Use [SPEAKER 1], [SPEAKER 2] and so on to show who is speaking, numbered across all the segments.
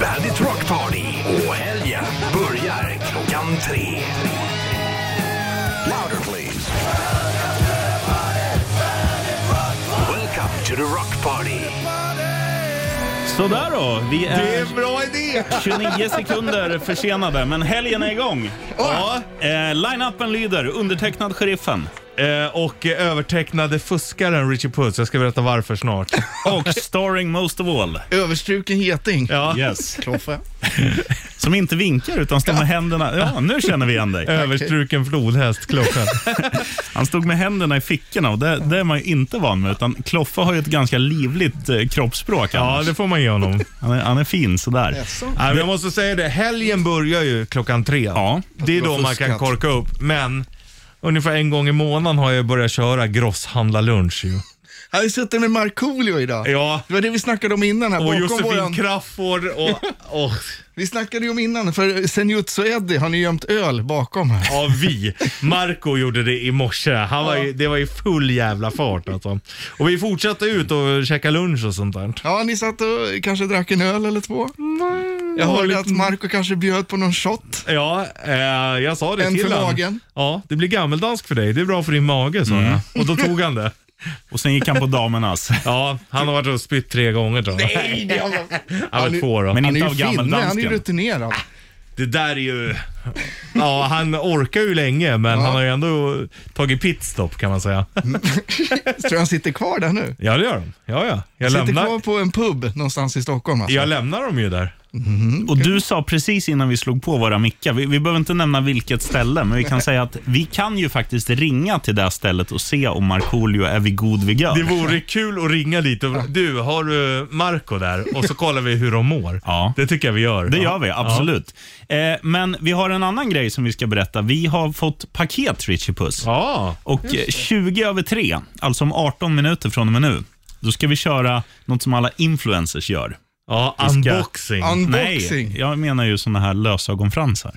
[SPEAKER 1] Bandit Rock Party och helgen börjar klockan tre. Louder please. Welcome to the Rock Party.
[SPEAKER 2] Sådär då, vi
[SPEAKER 3] Det är
[SPEAKER 2] är
[SPEAKER 3] en bra idé!
[SPEAKER 2] 29 sekunder försenade, men helgen är igång.
[SPEAKER 3] Ja.
[SPEAKER 2] Eh, Line-upen lyder undertecknad sheriffen
[SPEAKER 3] Eh, Och eh, övertecknade fuskaren Richie Puss. Jag ska berätta varför snart.
[SPEAKER 2] och starring most of all,
[SPEAKER 4] Överstruken geting.
[SPEAKER 3] Ja.
[SPEAKER 2] yes,
[SPEAKER 4] Kloffe.
[SPEAKER 2] som inte vinkar utan står med händerna. Ja, nu känner vi igen
[SPEAKER 3] Eh.
[SPEAKER 2] dig.
[SPEAKER 3] Överstruken flodhäst, klockan.
[SPEAKER 2] Han stod med händerna i fickorna och det, det är man ju inte van med, utan Kloffe har ju ett ganska livligt eh, kroppsspråk
[SPEAKER 3] Ja,
[SPEAKER 2] annars.
[SPEAKER 3] det får man ge honom.
[SPEAKER 2] han, är, han är fin sådär.
[SPEAKER 4] Jaså?
[SPEAKER 3] Nej, men jag måste säga det, helgen börjar ju klockan tre.
[SPEAKER 2] Ja.
[SPEAKER 3] Det är
[SPEAKER 4] Du
[SPEAKER 3] då
[SPEAKER 4] har
[SPEAKER 3] man
[SPEAKER 4] fuskat.
[SPEAKER 3] kan korka upp, men ungefär en gång i månaden har jag börjat köra grosshandla lunch ju.
[SPEAKER 4] Han har ju suttit med Markoolio idag.
[SPEAKER 3] Ja.
[SPEAKER 4] Det var det vi snackade om innan här.
[SPEAKER 3] Och
[SPEAKER 4] bakom
[SPEAKER 3] Josefin
[SPEAKER 4] våran-
[SPEAKER 3] Crafoord och, och
[SPEAKER 4] Vi snackade ju om innan, för Senjutsu och Eddie har ni gömt öl bakom här.
[SPEAKER 3] ja, vi. Marco gjorde det i morse. Han var ju, det var ju full jävla fart alltså. Och vi fortsatte ut och käka lunch och sånt där.
[SPEAKER 4] Ja, ni satt och kanske drack en öl eller två. Jag hörde att Marco kanske bjöd på någon shot.
[SPEAKER 3] Ja, eh, jag sa det
[SPEAKER 4] En
[SPEAKER 3] till
[SPEAKER 4] för
[SPEAKER 3] han.
[SPEAKER 4] magen. Mm.
[SPEAKER 3] Ja, det blir gammeldansk för dig. Det är bra för din mage, sa jag. Och då tog han det.
[SPEAKER 2] Och sen gick han på damernas.
[SPEAKER 3] Ja, han har varit och spytt tre gånger tror jag. Nej,
[SPEAKER 4] det har han-
[SPEAKER 3] han har
[SPEAKER 4] han är-
[SPEAKER 3] varit två då.
[SPEAKER 2] Men
[SPEAKER 4] Han är
[SPEAKER 2] inte
[SPEAKER 4] ju
[SPEAKER 2] av
[SPEAKER 4] finne, han är ju
[SPEAKER 2] gammeldansken.
[SPEAKER 4] rutinerad.
[SPEAKER 3] Det där är ju... Ja, han orkar ju länge, men han har ju ändå tagit pitstop kan man säga.
[SPEAKER 4] Tror du han sitter kvar där nu?
[SPEAKER 3] Ja, det gör de. Ja, ja. Jag,
[SPEAKER 4] Han sitter kvar
[SPEAKER 3] lämnar,
[SPEAKER 4] på en pub någonstans i Stockholm alltså.
[SPEAKER 3] jag lämnar dem ju där.
[SPEAKER 2] Och du sa precis innan vi slog på våra mickar, vi, vi behöver inte nämna vilket ställe, men vi kan säga att vi kan ju faktiskt ringa till det här stället och se om Markoolio är vid god vigör.
[SPEAKER 3] Det vore kul att ringa dit och du, har du Marco där? Och så kollar vi hur de mår.
[SPEAKER 2] Ja.
[SPEAKER 3] Det tycker jag vi gör.
[SPEAKER 2] Det gör vi, absolut. Eh, men vi har en annan grej som vi ska berätta. Vi har fått paket, Richie Puss.
[SPEAKER 3] Ja.
[SPEAKER 2] Och eh, 20 över 3, alltså om 18 minuter från och med nu, då ska vi köra något som alla influencers gör.
[SPEAKER 3] Ja,
[SPEAKER 2] Vi ska-
[SPEAKER 3] unboxing.
[SPEAKER 4] Unboxing.
[SPEAKER 2] Nej, jag menar ju såna här lösögonfransar.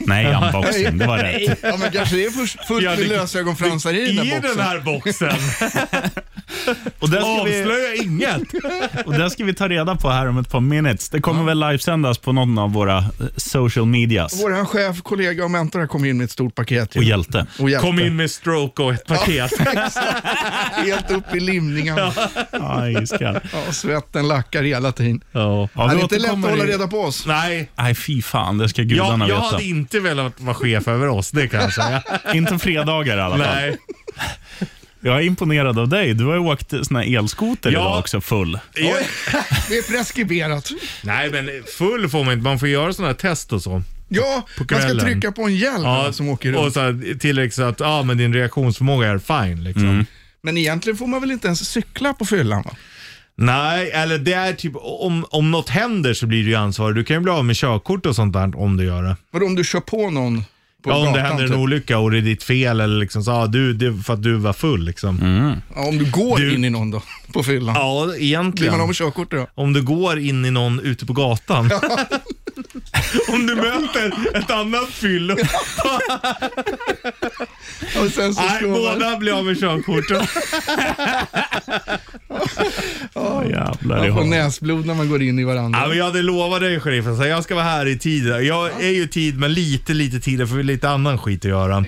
[SPEAKER 2] Nej, unboxing, det var rätt.
[SPEAKER 4] Ja, men kanske det är först- fullt
[SPEAKER 3] Ja,
[SPEAKER 4] med
[SPEAKER 3] det-
[SPEAKER 4] lösögonfransar i den
[SPEAKER 3] I
[SPEAKER 4] där boxen.
[SPEAKER 3] den här boxen.
[SPEAKER 2] Och där ska vi-
[SPEAKER 3] Avslöja inget.
[SPEAKER 2] Och det ska vi ta reda på här om ett par minutes. Det kommer väl livesändas på någon av våra eh, social medias.
[SPEAKER 4] Vår chef, kollega och mentor har kommit in med ett stort paket. ju.
[SPEAKER 2] Och hjälte.
[SPEAKER 4] Och hjälpte.
[SPEAKER 3] Kom in med stroke och ett paket.
[SPEAKER 4] Helt upp i limningarna.
[SPEAKER 2] Aj, iskall.
[SPEAKER 4] Ja, svetten lackar hela tiden.
[SPEAKER 3] Ja.
[SPEAKER 2] Ja,
[SPEAKER 4] Ja,
[SPEAKER 2] vi
[SPEAKER 4] det är inte lätt att
[SPEAKER 2] återkommer
[SPEAKER 4] hålla
[SPEAKER 2] i-
[SPEAKER 4] reda på oss.
[SPEAKER 3] Nej,
[SPEAKER 2] Nej, fy fan. Det ska gudarna
[SPEAKER 3] jag, jag hade
[SPEAKER 2] veta.
[SPEAKER 3] inte velat vara chef över oss, det kan jag säga.
[SPEAKER 2] Inte fredagar i alla fall.
[SPEAKER 3] Nej.
[SPEAKER 2] Jag är imponerad av dig. Du har ju åkt sån här elskoter
[SPEAKER 3] Ja.
[SPEAKER 2] idag också, full.
[SPEAKER 4] Oj, det är preskriberat.
[SPEAKER 3] Nej, men full får man inte. Man får göra sådana här test och så.
[SPEAKER 4] Ja, man ska
[SPEAKER 3] kvällen.
[SPEAKER 4] trycka på en hjälm alltså,
[SPEAKER 3] Ja,
[SPEAKER 4] som åker
[SPEAKER 3] och
[SPEAKER 4] runt.
[SPEAKER 3] så här, tillräckligt så att ja, men din reaktionsförmåga är fine. Liksom.
[SPEAKER 4] Mm. Men egentligen får man väl inte ens cykla på fyllan? Va?
[SPEAKER 3] Nej, eller det är typ om, om något händer så blir du ju ansvarig. Du kan ju bli av med körkort och sånt där om du gör det.
[SPEAKER 4] Vadå om du kör på någon på
[SPEAKER 3] Ja, om
[SPEAKER 4] gatan?
[SPEAKER 3] det händer en
[SPEAKER 4] typ?
[SPEAKER 3] olycka och det är ditt fel eller liksom så, ja, du, det är för att du var full liksom.
[SPEAKER 4] Mm. ja, om du går
[SPEAKER 3] Du-
[SPEAKER 4] in i någon då, på fyllan?
[SPEAKER 3] Ja,
[SPEAKER 4] Blir
[SPEAKER 3] egentligen.
[SPEAKER 4] man av med körkortet då?
[SPEAKER 3] Om du går in i någon ute på gatan. Om du möter ett annat fyllo.
[SPEAKER 4] Och sen så
[SPEAKER 3] Nej,
[SPEAKER 4] slår man-
[SPEAKER 3] båda blir av med körkortet.
[SPEAKER 2] Oh, jävlar i
[SPEAKER 4] Man får
[SPEAKER 2] honom.
[SPEAKER 4] näsblod när man går in i varandra.
[SPEAKER 3] Ja, men jag hade lovat dig sheriffen, så här, jag ska vara här i tid. Jag är ju i tid, men lite, lite tid, för vi har lite annan skit att göra.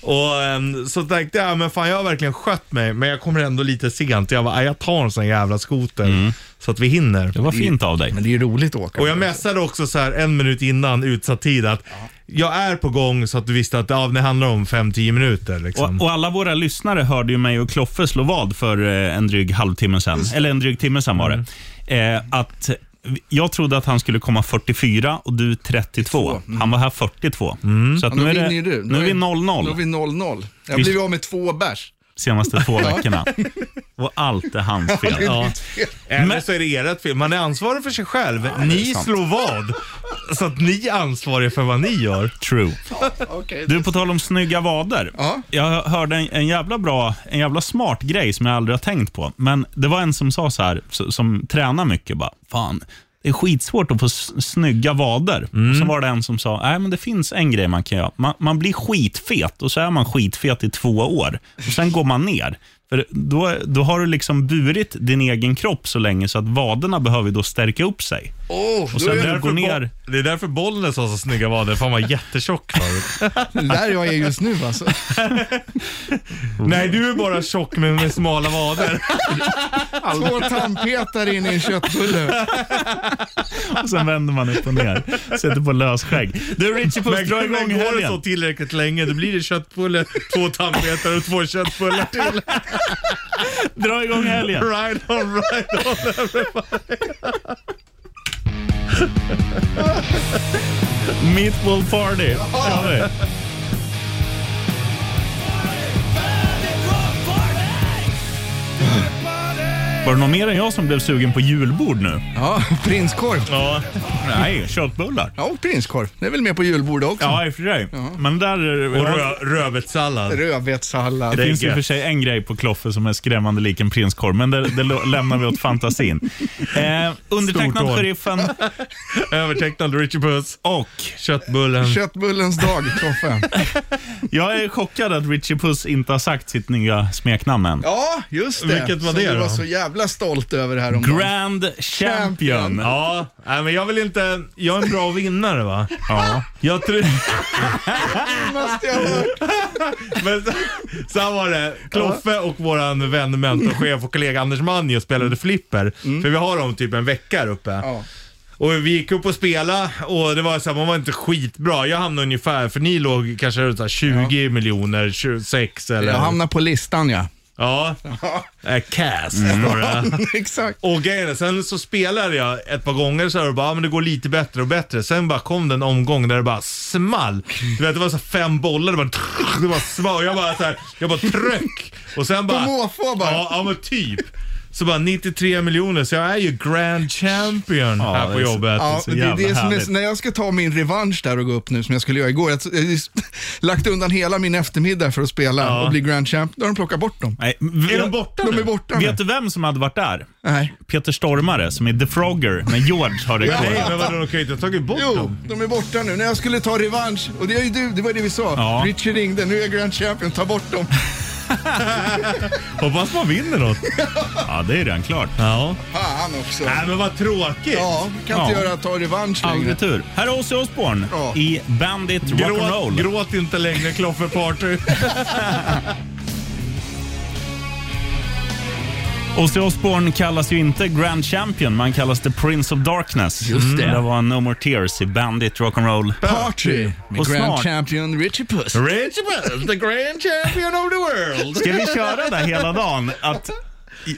[SPEAKER 3] Och ehm, så tänkte jag, men fan jag har verkligen skött mig, men jag kommer ändå lite sent. Jag bara, "Nej, jag tar en sån jävla skoter så att vi hinner.
[SPEAKER 2] Mm. Det var fint av dig.
[SPEAKER 4] Men det är ju roligt att åka.
[SPEAKER 3] Och jag messade också så här en minut innan utsatt tid att jag är på gång så att du visste att ja, det handlar om 5-10 minuter. Liksom.
[SPEAKER 4] Mm.
[SPEAKER 2] Och, och alla våra lyssnare hörde ju mig och Kloffe slå vad för eh, en dryg halvtimme sen. Eller en dryg timme sen var det.
[SPEAKER 4] Mm.
[SPEAKER 2] Eh, att vi- jag trodde att han skulle komma 44 och du 32. Han var här 42. Så att
[SPEAKER 4] Mm. Ja, då
[SPEAKER 2] nu, är det,
[SPEAKER 4] vinner ju du.
[SPEAKER 2] nu är vi
[SPEAKER 4] Då är
[SPEAKER 2] 00
[SPEAKER 4] vi 0-0. Jag
[SPEAKER 2] Vi-
[SPEAKER 4] blev av med två bärs.
[SPEAKER 2] senaste två veckorna. Och allt är hans fel.
[SPEAKER 3] Ja. Eller
[SPEAKER 2] Men-
[SPEAKER 3] så är det ert fel. Man är ansvarig för sig själv. ni slår vad. Så att ni är ansvariga för vad ni gör.
[SPEAKER 2] True.
[SPEAKER 4] Okej.
[SPEAKER 2] Du, på tal om snygga vader.
[SPEAKER 4] Ja.
[SPEAKER 2] Jag hörde en, en jävla bra, en jävla smart grej som jag aldrig har tänkt på. Men det var en som sa så här, s- som tränar mycket, bara, fan, det är skitsvårt att få s- snygga vader. Och så var det en som sa, nej men det finns en grej man kan göra. Man, man blir skitfet och så är man skitfet i två år. Och Sen går man ner. För då, då har du liksom burit din egen kropp så länge så att vaderna behöver då stärka upp sig.
[SPEAKER 4] Åh,
[SPEAKER 2] Och
[SPEAKER 4] då
[SPEAKER 2] sen
[SPEAKER 4] är
[SPEAKER 2] när du
[SPEAKER 3] Därför
[SPEAKER 2] går ner...
[SPEAKER 3] Bo- Det är därför Bollnäs har så snygga vader, för han var jättetjock förut.
[SPEAKER 4] det där jag är just nu alltså.
[SPEAKER 3] Nej, du är bara tjock men med smala vader.
[SPEAKER 4] Två tandpetare in i en köttbulle.
[SPEAKER 2] Och sen vänder man upp och ner. Sätter på lösskägg. Du Richie Puss,
[SPEAKER 3] Men,
[SPEAKER 2] dra
[SPEAKER 3] men
[SPEAKER 2] igång
[SPEAKER 3] går det så
[SPEAKER 2] helgen.
[SPEAKER 3] tillräckligt länge, då blir det köttbulle, två tandpetare och två köttbullar till.
[SPEAKER 2] Dra igång helgen.
[SPEAKER 3] Right on, right on.
[SPEAKER 2] Meatball party. Kör vi. Var det någon mer än jag som blev sugen på julbord nu?
[SPEAKER 4] Ja, prinskorv.
[SPEAKER 2] Ja. Nej, köttbullar.
[SPEAKER 4] Ja, och prinskorv. Det är väl med på julbordet också.
[SPEAKER 2] Ja, i och för sig. Men där... eh,
[SPEAKER 3] Och rö- rödbetssallad.
[SPEAKER 4] Rödvetssallad.
[SPEAKER 2] Det
[SPEAKER 3] är
[SPEAKER 2] finns ju
[SPEAKER 3] gött.
[SPEAKER 2] för sig en grej på Kloffe som är skrämmande lik en prinskorv, men det, det lo- lämnar vi åt fantasin. Eh,
[SPEAKER 3] Stort
[SPEAKER 2] undertecknad
[SPEAKER 3] år.
[SPEAKER 2] sheriffen
[SPEAKER 3] Övertecknad Richie Puss.
[SPEAKER 2] och
[SPEAKER 3] Köttbullen.
[SPEAKER 4] Köttbullens dag, Toffe.
[SPEAKER 2] jag är chockad att Richie Puss inte har sagt sitt nya smeknamn än.
[SPEAKER 4] Ja, just det.
[SPEAKER 3] Vilket var
[SPEAKER 4] Som
[SPEAKER 3] det
[SPEAKER 4] du
[SPEAKER 3] då?
[SPEAKER 4] var så jävla stolt över häromdagen.
[SPEAKER 2] Grand Champion. Ja.
[SPEAKER 3] Ja, nej, men jag vill inte... Jag är en bra vinnare va?
[SPEAKER 2] Ja.
[SPEAKER 3] Jag tror...
[SPEAKER 4] Måste jag ha hört.
[SPEAKER 3] Men så, så här var det. Kloffe och våran vän, mentorchef och kollega Anders Manjo spelade flipper. För vi har dem typ en vecka här uppe.
[SPEAKER 4] Mm. Ja.
[SPEAKER 3] Och vi gick upp och spelade och det var så här, man var inte skitbra. Jag hamnade ungefär, för ni låg kanske runt så här 20 miljoner, 26 eller...
[SPEAKER 4] Jag hamnar på listan ja.
[SPEAKER 3] Ja.
[SPEAKER 4] Ja, Mm.
[SPEAKER 3] Äh, Cass står det.
[SPEAKER 4] exakt.
[SPEAKER 3] Och grejen är, sen så spelade jag ett par gånger så här och bara, ah, men det går lite bättre och bättre. Sen bara kom den omgång där det bara small. Du vet, det var så här fem bollar, det bara, det bara small. Och jag bara så här, jag bara tryck. Och sen bara...
[SPEAKER 4] På måfå bara.
[SPEAKER 3] Ja, ja men typ. Så bara 93 miljoner, så jag är ju grand champion
[SPEAKER 2] Ja,
[SPEAKER 3] här
[SPEAKER 2] det
[SPEAKER 3] på
[SPEAKER 2] är så-
[SPEAKER 3] jobbet.
[SPEAKER 4] Ja,
[SPEAKER 2] så
[SPEAKER 4] det är
[SPEAKER 2] jävla
[SPEAKER 4] det som
[SPEAKER 2] härligt.
[SPEAKER 4] är, när jag ska ta min revansch där och gå upp nu som jag skulle göra igår. Jag har just lagt undan hela min eftermiddag för att spela
[SPEAKER 3] Ja.
[SPEAKER 4] och bli grand champ. Då har de plockat bort dem.
[SPEAKER 2] Nej,
[SPEAKER 3] Är
[SPEAKER 2] v-
[SPEAKER 3] de borta
[SPEAKER 4] De
[SPEAKER 3] nu?
[SPEAKER 4] är borta nu.
[SPEAKER 2] vet du vem som hade varit där?
[SPEAKER 4] Nej.
[SPEAKER 2] Peter Stormare som är The Frogger när George har
[SPEAKER 3] Nej,
[SPEAKER 2] rekord.
[SPEAKER 3] men vadå, de kan ju inte ha tagit bort
[SPEAKER 4] Jo,
[SPEAKER 3] dem.
[SPEAKER 4] de är borta nu. När jag skulle ta revansch, och det är ju du, det var det vi sa.
[SPEAKER 2] Ja.
[SPEAKER 4] Richie ringde, nu är jag grand champion, ta bort dem.
[SPEAKER 3] Hoppas man vinner något.
[SPEAKER 2] Ja, det är redan klart.
[SPEAKER 3] Ja.
[SPEAKER 4] Fan också.
[SPEAKER 3] Nej, men vad tråkigt.
[SPEAKER 4] Ja, kan
[SPEAKER 2] Ja.
[SPEAKER 4] inte göra ta revansch längre.
[SPEAKER 2] Aldrig tur. Här är Ozzy Osbourne
[SPEAKER 4] Ja.
[SPEAKER 2] i Bandit
[SPEAKER 3] Gråt,
[SPEAKER 2] Rock'n'Roll.
[SPEAKER 3] gråt inte längre, Kloffe Party.
[SPEAKER 2] Ozzy Osbourne kallas ju inte Grand Champion, man kallas The Prince of Darkness. Just det. Det var No More Tears i Bandit Rock'n'Roll.
[SPEAKER 4] Party med
[SPEAKER 2] Och
[SPEAKER 4] grand
[SPEAKER 2] snart-
[SPEAKER 4] champion Richie Puss.
[SPEAKER 3] Richie Puss, the grand champion of the world.
[SPEAKER 2] Ska vi köra det hela dagen? Att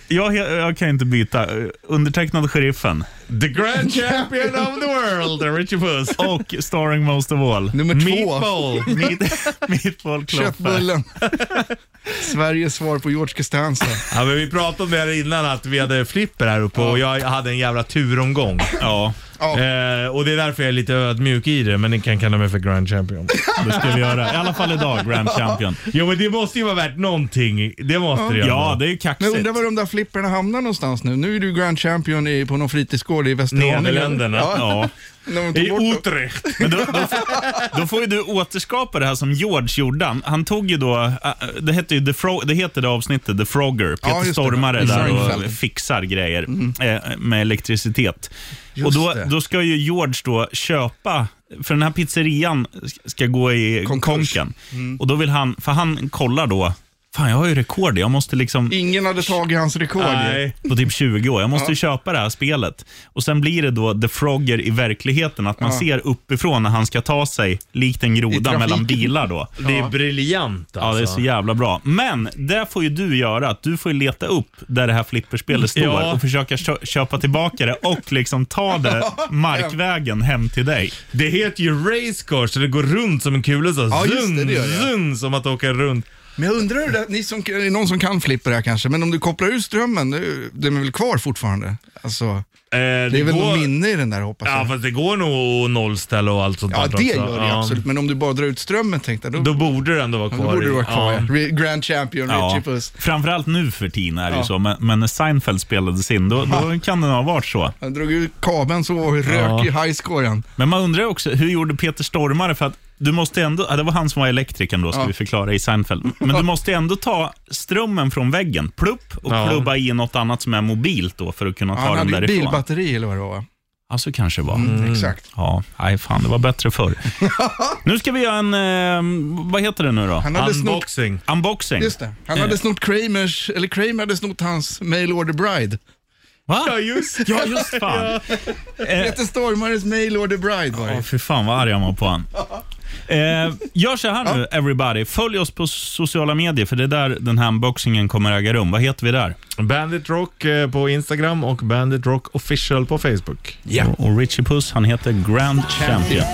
[SPEAKER 2] jag, jag kan inte byta. Undertecknad Sheriffen
[SPEAKER 3] The grand champion of the world, Richie Puss.
[SPEAKER 2] och starring most of all.
[SPEAKER 4] Nummer två,
[SPEAKER 3] Meatball.
[SPEAKER 2] Meat, meatball Kloffe.
[SPEAKER 4] köttbullen. Sveriges svar på George Costanza.
[SPEAKER 3] Ja, men vi pratade om det här innan, att vi hade flipper här uppe och jag hade en jävla turomgång.
[SPEAKER 2] Ja,
[SPEAKER 4] Ja.
[SPEAKER 3] Eh, och det är därför jag är lite ödmjuk i det, men ni kan kalla mig för grand champion.
[SPEAKER 2] det ska vi göra. I alla fall idag, Grand Champion.
[SPEAKER 3] Jo, men det måste ju vara värt någonting. Det måste det ju
[SPEAKER 2] Ja,
[SPEAKER 3] ändå.
[SPEAKER 2] det är ju
[SPEAKER 4] Men jag
[SPEAKER 2] kaxigt.
[SPEAKER 4] undrar var de där flipperna hamnar någonstans nu. Nu är du grand champion i, på någon fritidsgård i Västerhaninge.
[SPEAKER 3] Nederländerna.
[SPEAKER 4] Ja,
[SPEAKER 2] Ja.
[SPEAKER 4] de tog
[SPEAKER 3] I
[SPEAKER 4] bort dem.
[SPEAKER 3] Utrecht.
[SPEAKER 2] Men då, då, då får ju du återskapa det här som George gjorde. Han- Han tog ju då, äh, det hette ju The Frog, det heter det avsnittet, The Frogger. Peter
[SPEAKER 4] just det.
[SPEAKER 2] Stormare
[SPEAKER 4] I
[SPEAKER 2] där och
[SPEAKER 4] Seinfeld.
[SPEAKER 2] fixar grejer eh, med elektricitet. och då,
[SPEAKER 4] det.
[SPEAKER 2] då ska ju George då köpa, för den här pizzerian ska gå i
[SPEAKER 4] Konkurs. Mm.
[SPEAKER 2] konken. Och då vill han, för han kollar då, fan jag har ju rekord, jag måste liksom
[SPEAKER 4] Ingen hade tagit hans rekord. ju.
[SPEAKER 3] Nej.
[SPEAKER 2] på typ 20 år. Jag måste ju köpa det här spelet. Och Sen blir det då The Frogger i verkligheten, att man ser uppifrån när han ska ta sig, likt en groda
[SPEAKER 4] trafiken.
[SPEAKER 2] mellan bilar. då.
[SPEAKER 3] Det är briljant alltså.
[SPEAKER 2] Ja, det är så jävla bra. Men det får ju du göra. Att du får ju leta upp där det här flipperspelet står
[SPEAKER 3] Ja.
[SPEAKER 2] och försöka kö- köpa tillbaka det och liksom ta det markvägen hem till dig.
[SPEAKER 3] Det heter ju racecar så det går runt som en kula. Så
[SPEAKER 4] Ja, just
[SPEAKER 3] zun,
[SPEAKER 4] det, det gör det.
[SPEAKER 3] zun, som att åka runt.
[SPEAKER 4] Men jag undrar, hur det, ni som, är det någon som kan flipper här kanske, men om du kopplar ur strömmen, det- den är väl kvar fortfarande? Alltså,
[SPEAKER 3] Eh, det,
[SPEAKER 4] det är väl
[SPEAKER 3] går,
[SPEAKER 4] något minne i den där hoppas jag.
[SPEAKER 3] Ja, fast det går nog att nollställa och allt sånt
[SPEAKER 4] Ja,
[SPEAKER 3] där
[SPEAKER 4] det
[SPEAKER 3] också.
[SPEAKER 4] gör det
[SPEAKER 3] Ja.
[SPEAKER 4] absolut, men om du bara drar ut strömmen tänkte jag, då,
[SPEAKER 3] Då borde det ändå vara
[SPEAKER 4] då
[SPEAKER 3] kvar.
[SPEAKER 4] borde
[SPEAKER 3] i-
[SPEAKER 4] du vara
[SPEAKER 3] Ja.
[SPEAKER 4] kvar. ja. Re- Grand champion
[SPEAKER 2] Ja.
[SPEAKER 4] Richie Puss.
[SPEAKER 2] Framförallt nu för tiden är det ju så, men, men när Seinfeld spelades in, då, då kan det ha varit så.
[SPEAKER 4] Han drog ut kabeln så och rök i highscoren.
[SPEAKER 2] Men man undrar ju också, hur gjorde Peter Stormare för att du måste ändå, ja, det var han som var elektrikern då, ska
[SPEAKER 4] Ja.
[SPEAKER 2] vi förklara i Seinfeld. Men du måste ändå ta strömmen från väggen, plupp, och
[SPEAKER 3] Ja.
[SPEAKER 2] klubba i något annat som är mobilt då för att kunna
[SPEAKER 4] Ja,
[SPEAKER 2] ta
[SPEAKER 4] han
[SPEAKER 2] den
[SPEAKER 4] hade ju Mm.
[SPEAKER 2] därifrån.
[SPEAKER 4] bilbatteri eller vad det var va?
[SPEAKER 2] Ja, så kanske det var.
[SPEAKER 3] Mm.
[SPEAKER 4] Exakt.
[SPEAKER 2] Ja, nej fan, det var bättre förr. nu ska vi göra en, eh, vad heter det nu då?
[SPEAKER 4] Han hade snott,
[SPEAKER 3] Unboxing.
[SPEAKER 2] Unboxing.
[SPEAKER 4] just det.
[SPEAKER 3] Eh.
[SPEAKER 4] Han hade snott Kramers, eller Kramer hade snott hans Mail Order Bride.
[SPEAKER 2] Va?
[SPEAKER 3] Ja, just
[SPEAKER 2] Ja, just fan. eh,
[SPEAKER 4] Peter Stormares Mail Order Bride var det.
[SPEAKER 2] ja, fy fan vad arg han var på han. Eh, gör så här nu, everybody. Följ oss på sociala medier, för det är där den här unboxingen kommer äga rum. Vad heter vi där?
[SPEAKER 3] Bandit Rock eh, på Instagram och Bandit Rock Official på Facebook.
[SPEAKER 2] Ja. Och Richie Puss, han heter Grand Champion.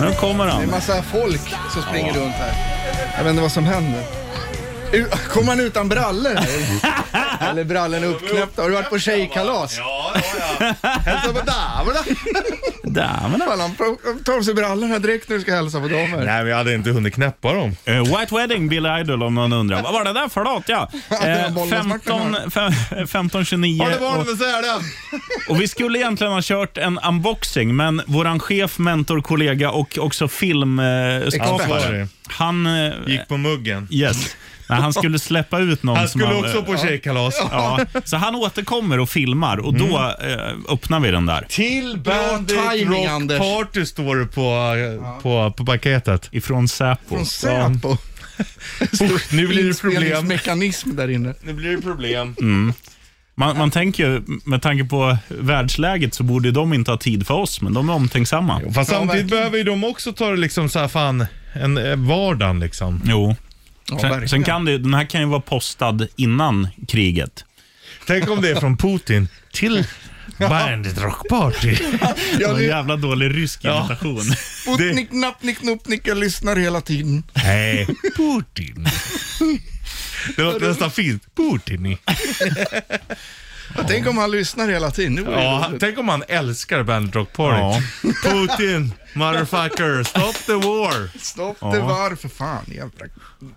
[SPEAKER 2] Nu kommer
[SPEAKER 4] Det är
[SPEAKER 2] han.
[SPEAKER 4] massa folk som springer runt här. Jag vet inte vad som händer. U- Kom han utan brallor? här? Eller brallorna uppknäppta? Har du varit på tjejkalas?
[SPEAKER 3] Ja, ja, ja. Hälsa på damerna.
[SPEAKER 2] Där, men
[SPEAKER 4] Fan, han pro- tar av sig brallorna direkt när du ska hälsa på damer.
[SPEAKER 3] Nej, vi hade inte hunnit knäppa dem.
[SPEAKER 2] Eh, White Wedding, Bill Idol om någon undrar. Vad var det där för låt? Ja.
[SPEAKER 4] det var
[SPEAKER 2] Eh,
[SPEAKER 4] bollen
[SPEAKER 2] 15,
[SPEAKER 4] smacken
[SPEAKER 2] fem- 15, 29
[SPEAKER 3] Har det
[SPEAKER 2] och,
[SPEAKER 3] barnen med sälen?
[SPEAKER 2] och vi skulle egentligen ha kört en unboxing, men våran chef, mentor, kollega och också filmskapare,
[SPEAKER 3] Ansvarig.
[SPEAKER 2] han... eh,
[SPEAKER 3] Gick på muggen.
[SPEAKER 2] Yes. Nej, han skulle släppa ut någon
[SPEAKER 3] Han
[SPEAKER 2] som
[SPEAKER 3] skulle
[SPEAKER 2] han,
[SPEAKER 3] också
[SPEAKER 2] eh,
[SPEAKER 3] på tjejkalas.
[SPEAKER 2] Ja, så han återkommer och filmar och då
[SPEAKER 3] Mm.
[SPEAKER 2] eh, öppnar vi den där.
[SPEAKER 3] Till Bandit
[SPEAKER 4] Bra timing,
[SPEAKER 3] Rock
[SPEAKER 4] Anders.
[SPEAKER 3] Party står det på, eh, på, på paketet.
[SPEAKER 2] Ifrån Säpo.
[SPEAKER 4] Från Säpo.
[SPEAKER 3] Usch, nu blir det problem.
[SPEAKER 4] Inspelningsmekanism där inne.
[SPEAKER 3] Nu blir det problem.
[SPEAKER 2] Man, man tänker ju, med tanke på världsläget så borde de inte ha tid för oss, men de är omtänksamma.
[SPEAKER 3] Fast
[SPEAKER 4] Ja,
[SPEAKER 3] samtidigt
[SPEAKER 4] verkligen.
[SPEAKER 3] behöver ju de också ta det liksom så här fan, en eh, vardagen liksom.
[SPEAKER 2] Jo.
[SPEAKER 4] Ja,
[SPEAKER 2] Sen,
[SPEAKER 4] verkligen.
[SPEAKER 2] sen kan det, den här kan ju vara postad innan kriget.
[SPEAKER 3] Tänk om det är från Putin till Bandit Rock Party.
[SPEAKER 4] Ja,
[SPEAKER 2] En
[SPEAKER 4] det är
[SPEAKER 2] jävla dålig rysk imitation.
[SPEAKER 4] Sputnik, Nappnik, Nuppnik, jag lyssnar hela tiden.
[SPEAKER 3] Nej, Putin. Det låter nästan fint. Putin.
[SPEAKER 4] Och Tänk om han lyssnar hela tiden. Nu
[SPEAKER 3] Ja,
[SPEAKER 4] ja,
[SPEAKER 3] han- tänk om han älskar Bandit Rock Party.
[SPEAKER 2] Ja.
[SPEAKER 3] Putin, motherfucker, stop the war.
[SPEAKER 4] Stopp det var för fan. Jävla.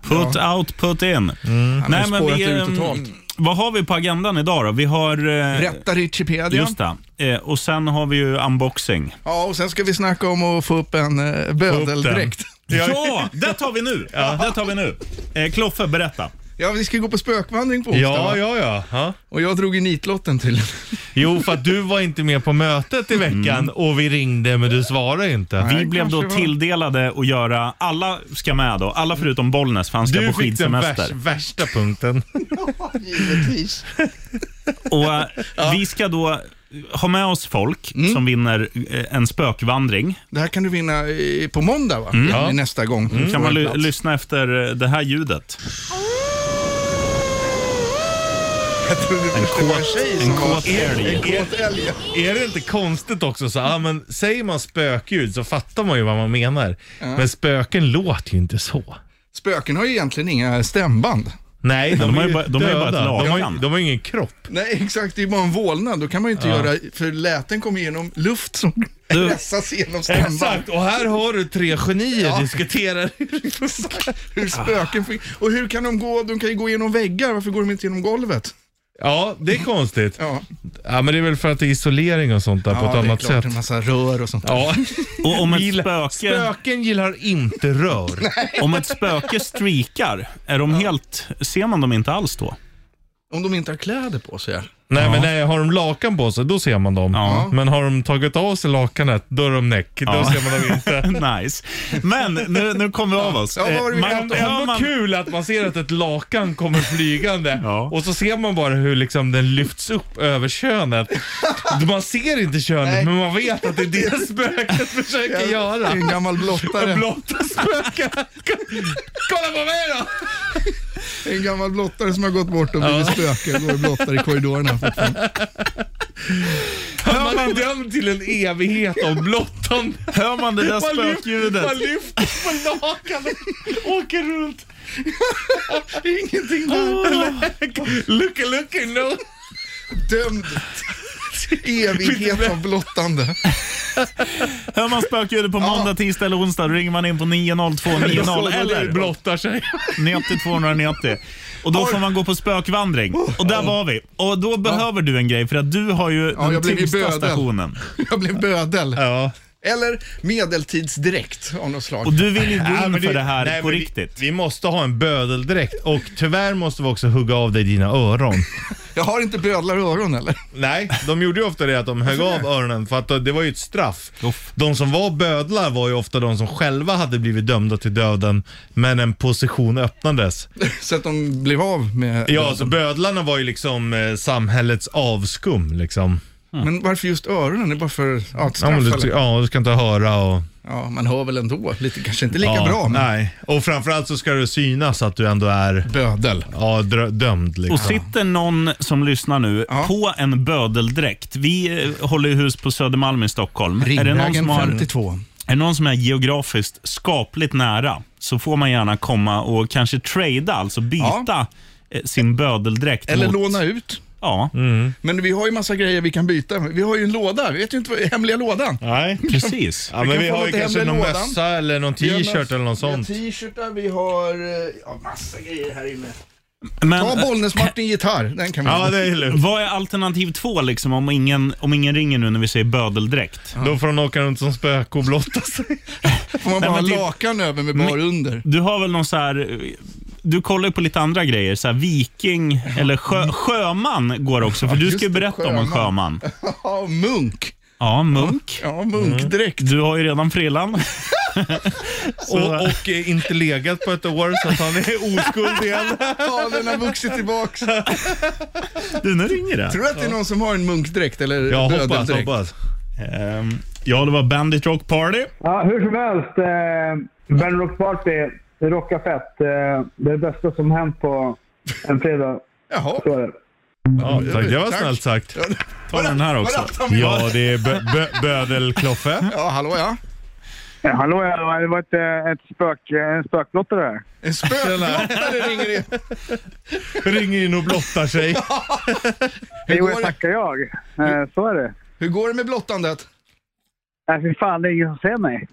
[SPEAKER 2] Put out, put in. Mm. Nej,
[SPEAKER 4] har
[SPEAKER 2] men
[SPEAKER 4] Mm. spårat
[SPEAKER 2] vi,
[SPEAKER 4] ur
[SPEAKER 2] ehm,
[SPEAKER 4] totalt.
[SPEAKER 2] vad har vi på agendan idag då? Vi har... eh,
[SPEAKER 4] Rätta Richipedia.
[SPEAKER 2] Just det. Eh, och sen har vi ju unboxing.
[SPEAKER 4] Ja, och sen ska vi snacka om att få upp en eh, bödeldräkt.
[SPEAKER 2] Ja, det tar vi nu. Det tar vi nu. Eh, Kloffe, berätta.
[SPEAKER 4] Ja, vi ska gå på spökvandring på onsdag.
[SPEAKER 3] Ja,
[SPEAKER 4] va?
[SPEAKER 3] ja, ja. ja.
[SPEAKER 4] Och jag drog ju nitlotten till.
[SPEAKER 3] Jo, för att du var inte med på mötet i veckan och vi ringde men du svarade inte.
[SPEAKER 2] Vi blev då
[SPEAKER 4] kanske var.
[SPEAKER 2] tilldelade att göra, alla ska med då, alla förutom Bollnäs för han ska
[SPEAKER 3] Du
[SPEAKER 2] på
[SPEAKER 3] fick den
[SPEAKER 2] skidsemester.
[SPEAKER 3] värst, värsta punkten.
[SPEAKER 4] Givetvis.
[SPEAKER 2] Och, eh, Vi ska då ha med oss folk
[SPEAKER 4] Mm.
[SPEAKER 2] som vinner eh, en spökvandring.
[SPEAKER 4] Det här kan du vinna eh, på måndag, va?
[SPEAKER 3] Ja.
[SPEAKER 4] Ja. Nästa gång.
[SPEAKER 2] Mm. Kan man ly-
[SPEAKER 4] Plats.
[SPEAKER 2] lyssna efter eh, det här ljudet?
[SPEAKER 4] Jag trodde det var en tjej som
[SPEAKER 2] En
[SPEAKER 4] var-
[SPEAKER 2] kåt älg.
[SPEAKER 4] En kåt älg.
[SPEAKER 3] Är det inte konstigt också så, ah, men säger man spökljud så fattar man ju vad man menar. Men spöken låter ju inte så.
[SPEAKER 4] Spöken har ju egentligen inga stämband.
[SPEAKER 3] Nej, de,
[SPEAKER 2] de
[SPEAKER 3] är
[SPEAKER 2] har
[SPEAKER 3] ju
[SPEAKER 2] ju bara- de har ju bara ett
[SPEAKER 3] döda. De har, ju-
[SPEAKER 2] lakan.
[SPEAKER 3] de har ju ingen kropp.
[SPEAKER 4] Nej, exakt. Det är ju bara en vålnad. Då kan man ju inte göra... För läten kommer genom luft som pressas genom stämband.
[SPEAKER 3] Exakt, och här har du tre genier
[SPEAKER 4] Ja.
[SPEAKER 3] diskuterar.
[SPEAKER 4] Hur spöken... fick- Och hur kan de gå... De kan ju gå genom väggar. Varför går de inte genom golvet?
[SPEAKER 3] Ja, det är konstigt.
[SPEAKER 4] Ja,
[SPEAKER 3] Ja, men det är väl för att det är isolering och sånt där på
[SPEAKER 4] ja
[SPEAKER 3] ett
[SPEAKER 4] det är
[SPEAKER 3] annat
[SPEAKER 4] klart.
[SPEAKER 3] sätt.
[SPEAKER 4] En massa rör och sånt.
[SPEAKER 3] Ja.
[SPEAKER 2] Och om ett
[SPEAKER 3] Gilla-
[SPEAKER 2] spöke,
[SPEAKER 3] Spöken gillar inte rör.
[SPEAKER 2] om ett spöke streakar, är de helt, ser man dem inte alls då?
[SPEAKER 4] Om de inte har kläder på sig.
[SPEAKER 3] Nej, men nej, har de lakan på sig, då ser man dem.
[SPEAKER 2] Ja.
[SPEAKER 3] Men har de tagit av sig lakanet, då är de näck. Då
[SPEAKER 2] Ja.
[SPEAKER 3] ser man dem inte.
[SPEAKER 2] Nice. Men nu, nu kommer vi av oss.
[SPEAKER 4] Ja, vad var det vi
[SPEAKER 2] Eh,
[SPEAKER 4] pratade om?
[SPEAKER 2] hör
[SPEAKER 3] Ändå kul att man ser att ett lakan kommer flygande
[SPEAKER 2] Ja.
[SPEAKER 3] och så ser man bara hur liksom den lyfts upp över könet. Man ser inte könet,
[SPEAKER 4] Nej.
[SPEAKER 3] men man vet att det är det spöket försöker
[SPEAKER 4] Det
[SPEAKER 3] göra.
[SPEAKER 4] är en gammal blottare.
[SPEAKER 3] Blotta spöken. Kolla på mig då!
[SPEAKER 4] Det är en gammal blottare som har gått bort och blivit spöke. Går och blottar i korridorerna.
[SPEAKER 3] Man är dömd till en evighet av blottande.
[SPEAKER 2] Hör man det där
[SPEAKER 3] Man lyfter-
[SPEAKER 2] spökljudet?
[SPEAKER 3] Man lyfter på lakanet, åker runt.
[SPEAKER 4] Ingenting där.
[SPEAKER 3] Looky, looky, no.
[SPEAKER 4] Dömd Evighet av blottande.
[SPEAKER 2] Hör man spökljudet på måndag, tisdag eller onsdag, då ringer man in på 90290 eller
[SPEAKER 3] blottar sig.
[SPEAKER 2] 90 290. Och då får man gå på spökvandring.
[SPEAKER 4] Oh.
[SPEAKER 2] Och där var vi. Och då behöver du en grej, för att du har ju den
[SPEAKER 4] jag blev ju
[SPEAKER 2] tyngsta
[SPEAKER 4] bödel.
[SPEAKER 2] stationen.
[SPEAKER 4] Jag blev bödel.
[SPEAKER 3] Ja.
[SPEAKER 4] Eller medeltidsdräkt av något slag.
[SPEAKER 2] Och du vill ju gå
[SPEAKER 3] Nej,
[SPEAKER 2] in
[SPEAKER 3] men
[SPEAKER 2] för det här
[SPEAKER 3] nej,
[SPEAKER 2] på
[SPEAKER 3] men
[SPEAKER 2] riktigt.
[SPEAKER 3] Vi, vi måste ha en bödeldräkt och tyvärr måste vi också hugga av dig dina öron.
[SPEAKER 4] Jag har inte bödlar i öron eller?
[SPEAKER 3] Nej, de gjorde ju ofta det att de högg av öronen för att det var ju ett straff.
[SPEAKER 2] Uff.
[SPEAKER 3] De som var bödlar var ju ofta de som själva hade blivit dömda till döden, men en position öppnades.
[SPEAKER 4] Så att de blev av med...
[SPEAKER 3] Ja, så bödlarna var ju liksom eh, samhällets avskum liksom.
[SPEAKER 4] Men varför just öronen? Det är bara för ja, ett
[SPEAKER 3] Ja, men
[SPEAKER 4] straff
[SPEAKER 3] du,
[SPEAKER 4] eller?
[SPEAKER 3] ja, du ska inte höra och...
[SPEAKER 4] Ja, man hör väl ändå. Lite, kanske inte lika
[SPEAKER 3] ja,
[SPEAKER 4] bra, men
[SPEAKER 3] Nej, och framförallt så ska det synas att du ändå är
[SPEAKER 4] bödel.
[SPEAKER 3] ja, drö- dömd liksom.
[SPEAKER 2] Och sitter någon som lyssnar nu
[SPEAKER 4] Ja.
[SPEAKER 2] på en bödeldräkt. Vi eh, håller ju hus på Södermalm i Stockholm. Är det, någon
[SPEAKER 4] Ringvägen
[SPEAKER 2] som har, är
[SPEAKER 4] 52.
[SPEAKER 2] det någon som är geografiskt skapligt nära så får man gärna komma och kanske trada, alltså byta eh, sin bödeldräkt
[SPEAKER 4] Eller
[SPEAKER 2] mot,
[SPEAKER 4] låna ut.
[SPEAKER 2] Ja,
[SPEAKER 4] Men vi har ju massa grejer vi kan byta. Vi har ju en låda. Vi vet ju inte vad hemliga lådan.
[SPEAKER 3] Nej.
[SPEAKER 2] precis.
[SPEAKER 3] Ja,
[SPEAKER 4] Vi
[SPEAKER 3] men
[SPEAKER 4] kan
[SPEAKER 3] vi
[SPEAKER 4] få
[SPEAKER 3] har ju
[SPEAKER 4] lite
[SPEAKER 3] kanske
[SPEAKER 4] hemlig
[SPEAKER 3] någon
[SPEAKER 4] lådan.
[SPEAKER 3] mössa eller någon
[SPEAKER 4] Vi har
[SPEAKER 3] t-shirt
[SPEAKER 4] möss-
[SPEAKER 3] eller något
[SPEAKER 4] vi har
[SPEAKER 3] sånt.
[SPEAKER 4] T-shirtar, vi har eh, ja, massa grejer här inne.
[SPEAKER 2] Men,
[SPEAKER 4] Ta Bollnäs-Martin gitarr, den kan vi
[SPEAKER 3] Ja, det är lugnt.
[SPEAKER 2] Vad är alternativ två liksom, om, ingen, om ingen ringer nu när vi säger bödeldräkt?
[SPEAKER 3] Då får de åka runt som spöke och blotta sig.
[SPEAKER 4] Får man bara
[SPEAKER 2] men
[SPEAKER 4] ha
[SPEAKER 3] typ-
[SPEAKER 2] det-
[SPEAKER 4] lakan över med bar under?
[SPEAKER 2] Du har väl någon så här... Du kollar ju på lite andra grejer, så här viking eller sjö, sjöman går också, för du
[SPEAKER 4] just
[SPEAKER 2] ska ju
[SPEAKER 4] det,
[SPEAKER 2] berätta om en sjöman.
[SPEAKER 4] Ja, munk.
[SPEAKER 2] Ja, munk.
[SPEAKER 4] Ja,
[SPEAKER 3] Mm.
[SPEAKER 4] munkdräkt.
[SPEAKER 2] Du har ju redan frillan.
[SPEAKER 3] Och, och eh, inte legat på ett år så att han är oskuld igen.
[SPEAKER 4] Ja, den har vuxit tillbaks. Tror
[SPEAKER 2] Du, nu ringer det.
[SPEAKER 4] du att det är någon som har en munkdräkt eller
[SPEAKER 3] Ja, hoppas,
[SPEAKER 4] bödeldräkt?
[SPEAKER 3] hoppas.
[SPEAKER 2] Ehm, ja, det var Bandit Rock Party.
[SPEAKER 5] Ja, hur som helst. Eh, Band Rock Party, det rockar fett. Eh, det är det bästa som hänt på en fredag.
[SPEAKER 4] Jaha.
[SPEAKER 5] Så är det.
[SPEAKER 3] Ja, Mm, tack. Det var
[SPEAKER 4] Tack.
[SPEAKER 3] snällt sagt.
[SPEAKER 2] Ta den här också.
[SPEAKER 4] Vad rattar vi
[SPEAKER 3] Ja,
[SPEAKER 4] var?
[SPEAKER 3] det är bö- bö- Bödel-Kloffe.
[SPEAKER 4] Ja, hallå ja.
[SPEAKER 5] Ja, hallå, hallå. Det var ett, eh, ett spök, en spökblottare där.
[SPEAKER 4] En spökblottare ringer in.
[SPEAKER 3] Ringer in och blottar sig.
[SPEAKER 4] Hur
[SPEAKER 5] Jo,
[SPEAKER 4] går,
[SPEAKER 5] jag
[SPEAKER 4] det,
[SPEAKER 5] tackar jag. Eh, så är det.
[SPEAKER 4] hur går det med blottandet?
[SPEAKER 5] Nej, fy fan, det är ingen som ser mig.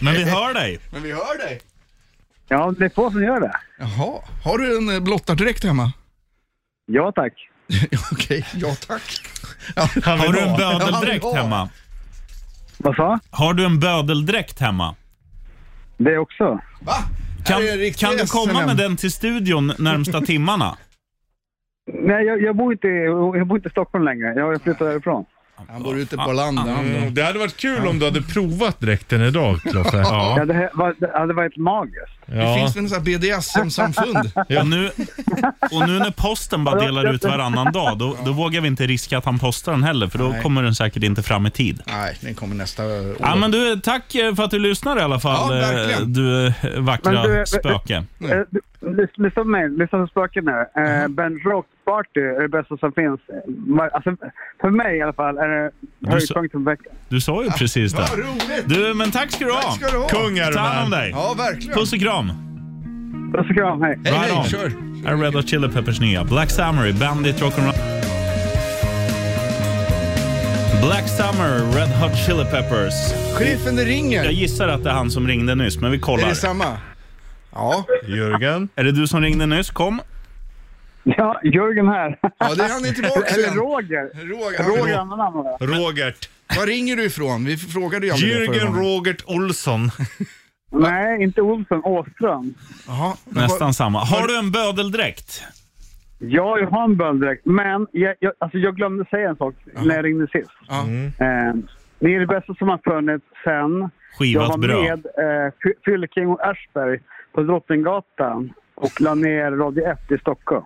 [SPEAKER 2] Men vi hör dig.
[SPEAKER 4] Men vi hör dig.
[SPEAKER 5] Ja, det är få som gör det.
[SPEAKER 4] Jaha, har du en eh, blottardräkt hemma?
[SPEAKER 5] Ja, tack.
[SPEAKER 4] Ja, Okej, ja tack. Ja,
[SPEAKER 3] Han vill
[SPEAKER 2] Har du en
[SPEAKER 3] ha.
[SPEAKER 2] bödeldräkt
[SPEAKER 4] Ja, vi har.
[SPEAKER 2] hemma?
[SPEAKER 5] Vad sa?
[SPEAKER 2] Har du en bödeldräkt hemma?
[SPEAKER 5] Det också.
[SPEAKER 4] va?
[SPEAKER 2] Kan,
[SPEAKER 4] Här är en riktig
[SPEAKER 2] kan du komma
[SPEAKER 4] SNM.
[SPEAKER 2] med den till studion närmsta timmarna?
[SPEAKER 5] Nej, jag, jag, bor inte, i- jag bor inte i Stockholm längre. Jag har flyttat därifrån.
[SPEAKER 4] Han bor ute på landet. han då.
[SPEAKER 3] Mm, Det hade varit kul om du hade provat dräkten idag, Kloffe.
[SPEAKER 5] Ja, det, här var, det hade varit magiskt.
[SPEAKER 4] Det
[SPEAKER 3] Ja.
[SPEAKER 4] finns väl en sån här BDSM-samfund?
[SPEAKER 2] Och, nu, och nu när posten bara delar ut varannan dag, då, då vågar vi inte riska att han postar den heller, för då kommer den säkert inte fram i tid.
[SPEAKER 4] Nej, den kommer nästa år.
[SPEAKER 2] Ja, men du, tack eh, för att du lyssnar i alla fall,
[SPEAKER 4] Ja,
[SPEAKER 2] eh,
[SPEAKER 4] verkligen.
[SPEAKER 2] du eh, vackra
[SPEAKER 5] Men du, eh,
[SPEAKER 2] spöke.
[SPEAKER 4] Mm.
[SPEAKER 5] Eh, lys- lyssna på mig, lyssna på spöken nu. Eh, ben Rock Party är det bästa som finns. Va- Alltså, för mig i alla fall är det höjdpunkten på veckan.
[SPEAKER 2] Du sa ju precis det.
[SPEAKER 4] Vad roligt!
[SPEAKER 2] Du, men tack ska du ha.
[SPEAKER 4] Tack ska du ha.
[SPEAKER 3] Kung är du
[SPEAKER 2] Ta hand om
[SPEAKER 3] här.
[SPEAKER 2] dig.
[SPEAKER 4] Ja, verkligen.
[SPEAKER 2] Puss och kram.
[SPEAKER 5] Puss och kram, hej.
[SPEAKER 4] Hej,
[SPEAKER 2] Right on.
[SPEAKER 4] hej, kör.
[SPEAKER 2] Här är Red Hot Chili Peppers nya Black Summer, Bandit Rock'n'Roll. Black Summer, Red Hot Chili Peppers.
[SPEAKER 4] Sheriffen, det ringer.
[SPEAKER 2] Jag gissar att det är han som ringde nyss, men vi kollar.
[SPEAKER 4] Är det samma? Ja.
[SPEAKER 3] Jörgen.
[SPEAKER 2] Är det du som ringde nyss? Kom.
[SPEAKER 5] Ja, Jörgen här.
[SPEAKER 4] ja, det är han är tillbaka
[SPEAKER 5] Eller
[SPEAKER 4] igen.
[SPEAKER 5] Roger.
[SPEAKER 4] Roger.
[SPEAKER 5] Roger,
[SPEAKER 4] Roger.
[SPEAKER 5] andra namn va?
[SPEAKER 3] Robert.
[SPEAKER 4] Var ringer du ifrån? Vi frågade ju aldrig det förra
[SPEAKER 3] Jörgen
[SPEAKER 4] gången.
[SPEAKER 3] Robert Olsson.
[SPEAKER 5] Nej, inte Olsson, Åström.
[SPEAKER 4] Jaha, men vad-
[SPEAKER 2] Nästan samma. Har du en bödeldräkt?
[SPEAKER 5] Ja, jag har en bölddräkt, men jag, jag, alltså jag glömde säga en sak när jag ringde sist.
[SPEAKER 4] Ja. Mm.
[SPEAKER 5] Eh, ni är det bästa som har funnits sen jag var
[SPEAKER 2] Skivat bröd.
[SPEAKER 5] med eh, Fy- Fylking och Aschberg på Drottninggatan och la ner Radio 1 i Stockholm.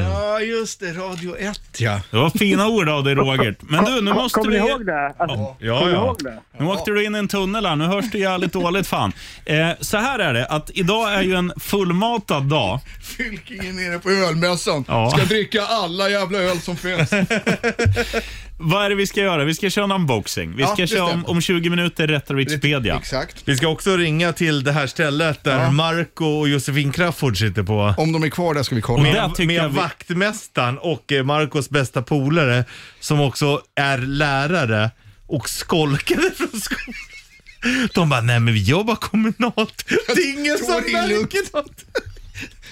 [SPEAKER 4] Ja, just det. Radio 1, ja.
[SPEAKER 2] Det var fina ord av dig Roger. Men du, nu
[SPEAKER 5] Kom-
[SPEAKER 2] måste
[SPEAKER 5] Kommer
[SPEAKER 2] vi...
[SPEAKER 5] ni ihåg det? Alltså,
[SPEAKER 3] Ja,
[SPEAKER 5] Kommer ni
[SPEAKER 3] ja.
[SPEAKER 5] ihåg det?
[SPEAKER 2] Nu åkte du in i en tunnel här, nu hörs det jävligt dåligt fan. Eh, så här är det, att idag är ju en fullmatad dag.
[SPEAKER 4] Fylking är nere på ölmässan.
[SPEAKER 2] Ja.
[SPEAKER 4] Ska dricka alla jävla öl som finns.
[SPEAKER 2] vad är det vi ska göra? Vi ska köra en unboxing. Vi
[SPEAKER 6] Ja,
[SPEAKER 2] ska
[SPEAKER 6] just
[SPEAKER 2] köra
[SPEAKER 6] det.
[SPEAKER 2] om, om 20 minuter Retrovikspedia.
[SPEAKER 6] Exakt.
[SPEAKER 3] Vi ska också ringa till det här stället där
[SPEAKER 6] Ja.
[SPEAKER 3] Marco och Josefin Crafoord sitter på.
[SPEAKER 6] Om de är kvar där ska vi kolla.
[SPEAKER 2] Där
[SPEAKER 3] Med,
[SPEAKER 2] tycker jag
[SPEAKER 3] med
[SPEAKER 2] vi-
[SPEAKER 3] vaktmästaren och eh, Marcos bästa polare som också är lärare och skolkade från skolan. De bara, nej men vi jobbar kommunalt. Det är ingen som
[SPEAKER 6] Står i
[SPEAKER 3] märker något.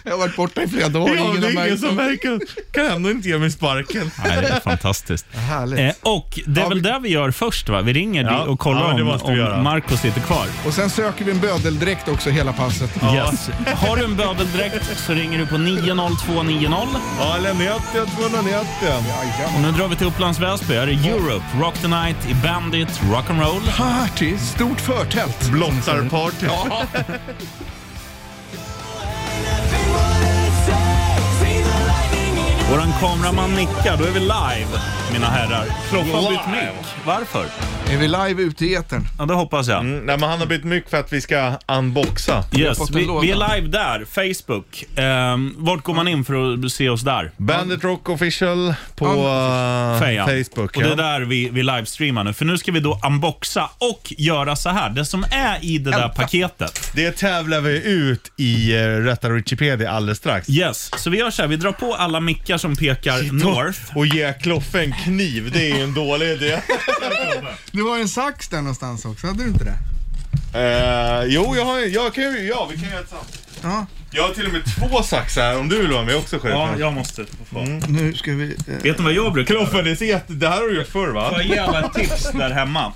[SPEAKER 6] Jag har varit borta i flera dagar.
[SPEAKER 3] Ja,
[SPEAKER 6] ingen
[SPEAKER 3] det
[SPEAKER 6] har
[SPEAKER 3] är ingen
[SPEAKER 6] märkt
[SPEAKER 3] som
[SPEAKER 6] något.
[SPEAKER 3] märker något. Kan ändå inte ge mig sparken.
[SPEAKER 2] Nej, det är fantastiskt.
[SPEAKER 6] Härligt.
[SPEAKER 2] Eh, och det är
[SPEAKER 6] Ja,
[SPEAKER 2] väl
[SPEAKER 6] vi-
[SPEAKER 2] det vi gör först va? Vi ringer
[SPEAKER 3] Ja,
[SPEAKER 2] di- och kollar
[SPEAKER 3] ja, men det
[SPEAKER 2] om,
[SPEAKER 3] måste vi göra.
[SPEAKER 2] om Marco sitter kvar.
[SPEAKER 6] Och sen söker vi en bödeldräkt också hela passet.
[SPEAKER 2] Yes. Har du en bödeldräkt så ringer du på 90290.
[SPEAKER 3] Ja, eller 90 290.
[SPEAKER 2] Och nu drar vi till Upplands Väsby. Här är Europe, Rock the Night, i Bandit, Rock'n'Roll.
[SPEAKER 6] Party, stort förtält.
[SPEAKER 3] Blottarparty.
[SPEAKER 2] Våran kameraman nickar. Då är vi live, mina herrar. Klockan har bytt mick. Varför?
[SPEAKER 6] Är vi live ute i etern?
[SPEAKER 2] Ja, det hoppas jag.
[SPEAKER 3] Mm, Nej, men han har bytt mycket för att vi ska unboxa.
[SPEAKER 2] Yes,
[SPEAKER 6] fått en
[SPEAKER 2] vi,
[SPEAKER 6] låda.
[SPEAKER 2] vi är live där, Facebook. Ehm, vart går man in för att se oss där?
[SPEAKER 3] Bandit Rock Official på eh,
[SPEAKER 2] Fejan.
[SPEAKER 3] Facebook.
[SPEAKER 2] Och det
[SPEAKER 3] ja.
[SPEAKER 2] är där vi, vi livestreamar nu. För nu ska vi då unboxa och göra så här. Det som är i det där paketet.
[SPEAKER 3] Det tävlar vi ut i uh, Rätta Wikipedia alldeles strax.
[SPEAKER 2] Yes, så vi gör så här. Vi drar på alla mickar som pekar north.
[SPEAKER 3] Och ge Kloffe en kniv, det är ju en dålig idé.
[SPEAKER 6] Du har en sax där någonstans också, hade du inte det?
[SPEAKER 3] Eh, jo, jag, har, jag kan ju... Ja, vi kan göra ett samt.
[SPEAKER 6] Ja,
[SPEAKER 3] Jag har till och med två saxar om du vill vara med också Sheriffen.
[SPEAKER 2] Ja, jag måste få.
[SPEAKER 6] nu ska vi... Eh,
[SPEAKER 2] Mm. Vet ni vad jag brukar göra?
[SPEAKER 3] Kloffe, det, ser jätte- det här har du gjort förr va?
[SPEAKER 2] Får jag ge alla ett tips där hemma?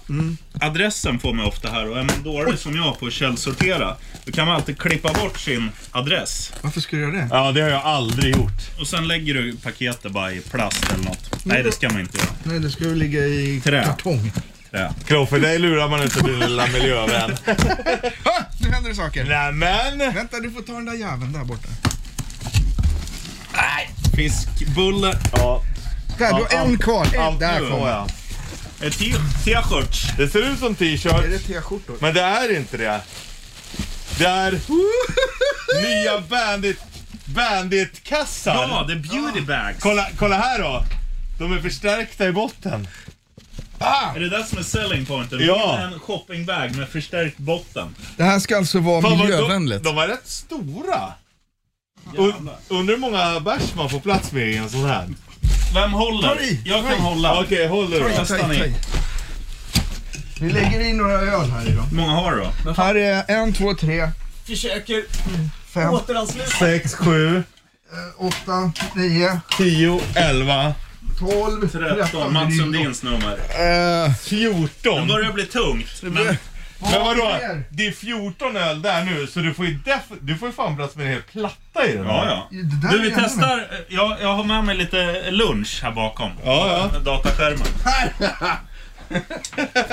[SPEAKER 2] Adressen får man ofta här och är man dålig som jag på att källsortera, då kan man alltid klippa bort sin adress.
[SPEAKER 6] varför ska du göra det?
[SPEAKER 3] Ja, det har jag aldrig gjort.
[SPEAKER 2] Och sen lägger du paketet bara i plast eller något. Nej, det ska man inte göra.
[SPEAKER 6] Nej, det ska ju ligga i
[SPEAKER 2] Trä.
[SPEAKER 6] kartong.
[SPEAKER 2] Trä.
[SPEAKER 3] Kloffe, dig lurar man inte din lilla miljövän.
[SPEAKER 6] Ha! Nu händer det saker.
[SPEAKER 3] Nämen!
[SPEAKER 6] Vänta, du får ta den där jäveln där borta.
[SPEAKER 2] Fiskbulle. Eh,
[SPEAKER 3] Ja,
[SPEAKER 6] Där, du har en kvar. En,
[SPEAKER 3] allt
[SPEAKER 6] där
[SPEAKER 3] nu
[SPEAKER 6] kom
[SPEAKER 3] har
[SPEAKER 6] den.
[SPEAKER 3] jag.
[SPEAKER 2] Ett t- t-shirts.
[SPEAKER 3] Det ser ut som
[SPEAKER 6] Är det
[SPEAKER 3] t-shirt,
[SPEAKER 6] t-skjortor?
[SPEAKER 3] men det är inte det. Det är nya bandit, banditkassar.
[SPEAKER 2] Ja, det är beauty bags.
[SPEAKER 3] Kolla, kolla här då. De är förstärkta i botten.
[SPEAKER 2] Är det det som är selling pointen?
[SPEAKER 3] Ja.
[SPEAKER 2] En shoppingbag med förstärkt botten.
[SPEAKER 6] Det här ska alltså vara
[SPEAKER 3] Fan, vad-
[SPEAKER 6] miljövänligt.
[SPEAKER 3] De, de var rätt stora. Und, undrar hur många bärs man får plats med i en sån här.
[SPEAKER 2] Vem håller?
[SPEAKER 6] Ta i,
[SPEAKER 2] Jag
[SPEAKER 6] ta i.
[SPEAKER 2] kan hålla.
[SPEAKER 3] Okej, håll dig då.
[SPEAKER 2] Oj.
[SPEAKER 6] Ta i, ta i. Vi lägger in några öl här idag.
[SPEAKER 2] Hur många har du då?
[SPEAKER 6] Här är en, två, tre,
[SPEAKER 7] Försöker
[SPEAKER 6] fem,
[SPEAKER 7] återansluta.
[SPEAKER 3] 6, 7,
[SPEAKER 6] åtta, nio,
[SPEAKER 3] 10, 11,
[SPEAKER 6] tolv,
[SPEAKER 2] 13.
[SPEAKER 6] tretton.
[SPEAKER 2] Mats Sundins nummer.
[SPEAKER 6] Eh,
[SPEAKER 3] 14.
[SPEAKER 2] Det börjar bli tungt. Men
[SPEAKER 3] Men vadå?
[SPEAKER 6] mer?
[SPEAKER 3] Det är 14 öl där nu, så du får ju def- du får ju fan plats med en hel platta i den här.
[SPEAKER 2] Ja, ja.
[SPEAKER 6] Det där
[SPEAKER 2] Du, vi
[SPEAKER 6] är ännu
[SPEAKER 2] testar. eh, Jag, jag har med mig lite lunch här bakom.
[SPEAKER 3] Ja, ja.
[SPEAKER 2] Med Dataskärmen.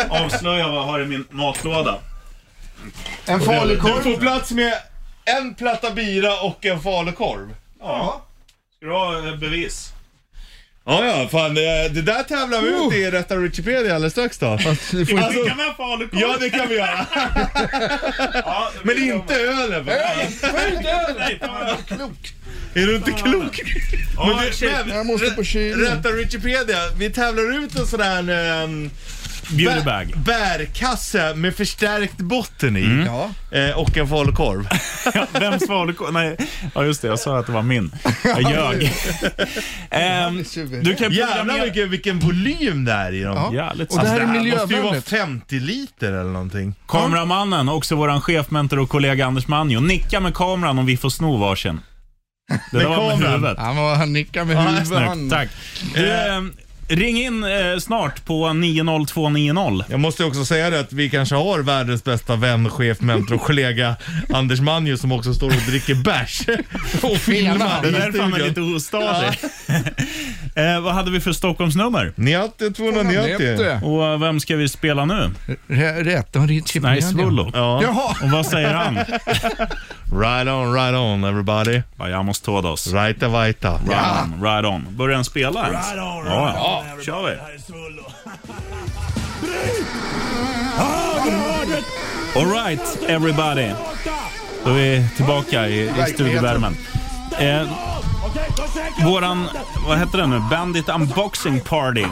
[SPEAKER 2] Avslöja vad jag har i min matlåda.
[SPEAKER 6] En
[SPEAKER 3] Du
[SPEAKER 6] falukorv.
[SPEAKER 3] får plats med en platta bira och en falukorv.
[SPEAKER 2] Ja. Ska du ha eh, bevis?
[SPEAKER 3] Ja, ja, fan det, det där tävlar vi ut i Rätta Wikipedia alldeles strax då.
[SPEAKER 6] Du får inte-
[SPEAKER 2] Alltså, kan man falukorv?
[SPEAKER 3] Ja, det kan vi göra.
[SPEAKER 2] Ja, det
[SPEAKER 3] Men
[SPEAKER 2] vill jag
[SPEAKER 3] inte
[SPEAKER 2] med.
[SPEAKER 3] ölen. va?
[SPEAKER 2] Nej, ta med.
[SPEAKER 3] Är du inte klok?
[SPEAKER 2] Ja,
[SPEAKER 3] Men
[SPEAKER 2] shit.
[SPEAKER 3] det- men-
[SPEAKER 6] Jag måste på kylen.
[SPEAKER 3] Rätta Wikipedia, vi tävlar ut en sån här ehm,
[SPEAKER 2] Beauty
[SPEAKER 3] bä-
[SPEAKER 2] bag.
[SPEAKER 3] bärkasse med förstärkt botten i.
[SPEAKER 6] Ja.
[SPEAKER 3] Eh, och en falukorv.
[SPEAKER 2] Vems falukorv? Nej, ja just det. Jag sa att det var min. Jag ljög. Ehm, du kan
[SPEAKER 3] Jävlar
[SPEAKER 2] programmera...
[SPEAKER 3] vilken, vilken volym det är i dem. Alltså,
[SPEAKER 6] Ja.
[SPEAKER 2] Jävligt
[SPEAKER 6] Och det här är
[SPEAKER 2] sant.
[SPEAKER 3] måste ju vara
[SPEAKER 6] miljövänligt.
[SPEAKER 3] 50 liter eller någonting.
[SPEAKER 2] Kameramannen, också våran chefmentor och kollega Anders Manjo, nicka med kameran om vi får sno varsin. Det där var med
[SPEAKER 3] kameran?
[SPEAKER 2] huvudet.
[SPEAKER 6] Han, var, han nickar med huvudet.
[SPEAKER 2] Snyggt, tack. Du, eh, ring in eh, snart på 90290.
[SPEAKER 3] Jag måste också säga det att vi kanske har världens bästa vän, chef, mentor och kollega Anders Manju som också står och dricker bärs. och filmar
[SPEAKER 2] Det är
[SPEAKER 3] den här
[SPEAKER 2] därför han är lite
[SPEAKER 3] studion.
[SPEAKER 2] ostadig. eh, vad hade vi för Stockholmsnummer?
[SPEAKER 3] Njatte 290.
[SPEAKER 2] Och eh, vem ska vi spela nu?
[SPEAKER 6] Rätt, har ditt chip
[SPEAKER 2] Nej, Svullo.
[SPEAKER 3] Ja.
[SPEAKER 6] Jaha,
[SPEAKER 2] Och vad säger han?
[SPEAKER 3] Right on, right on everybody.
[SPEAKER 2] Vajamos todos. Right
[SPEAKER 3] Right vajta.
[SPEAKER 2] on, right on. Börjar den spela ens?
[SPEAKER 7] Right on, right
[SPEAKER 2] ja,
[SPEAKER 7] on,
[SPEAKER 2] kör vi. All right, everybody. Då är vi tillbaka i, i studiovärmen. Eh, våran, vad heter den nu? Bandit Unboxing Party.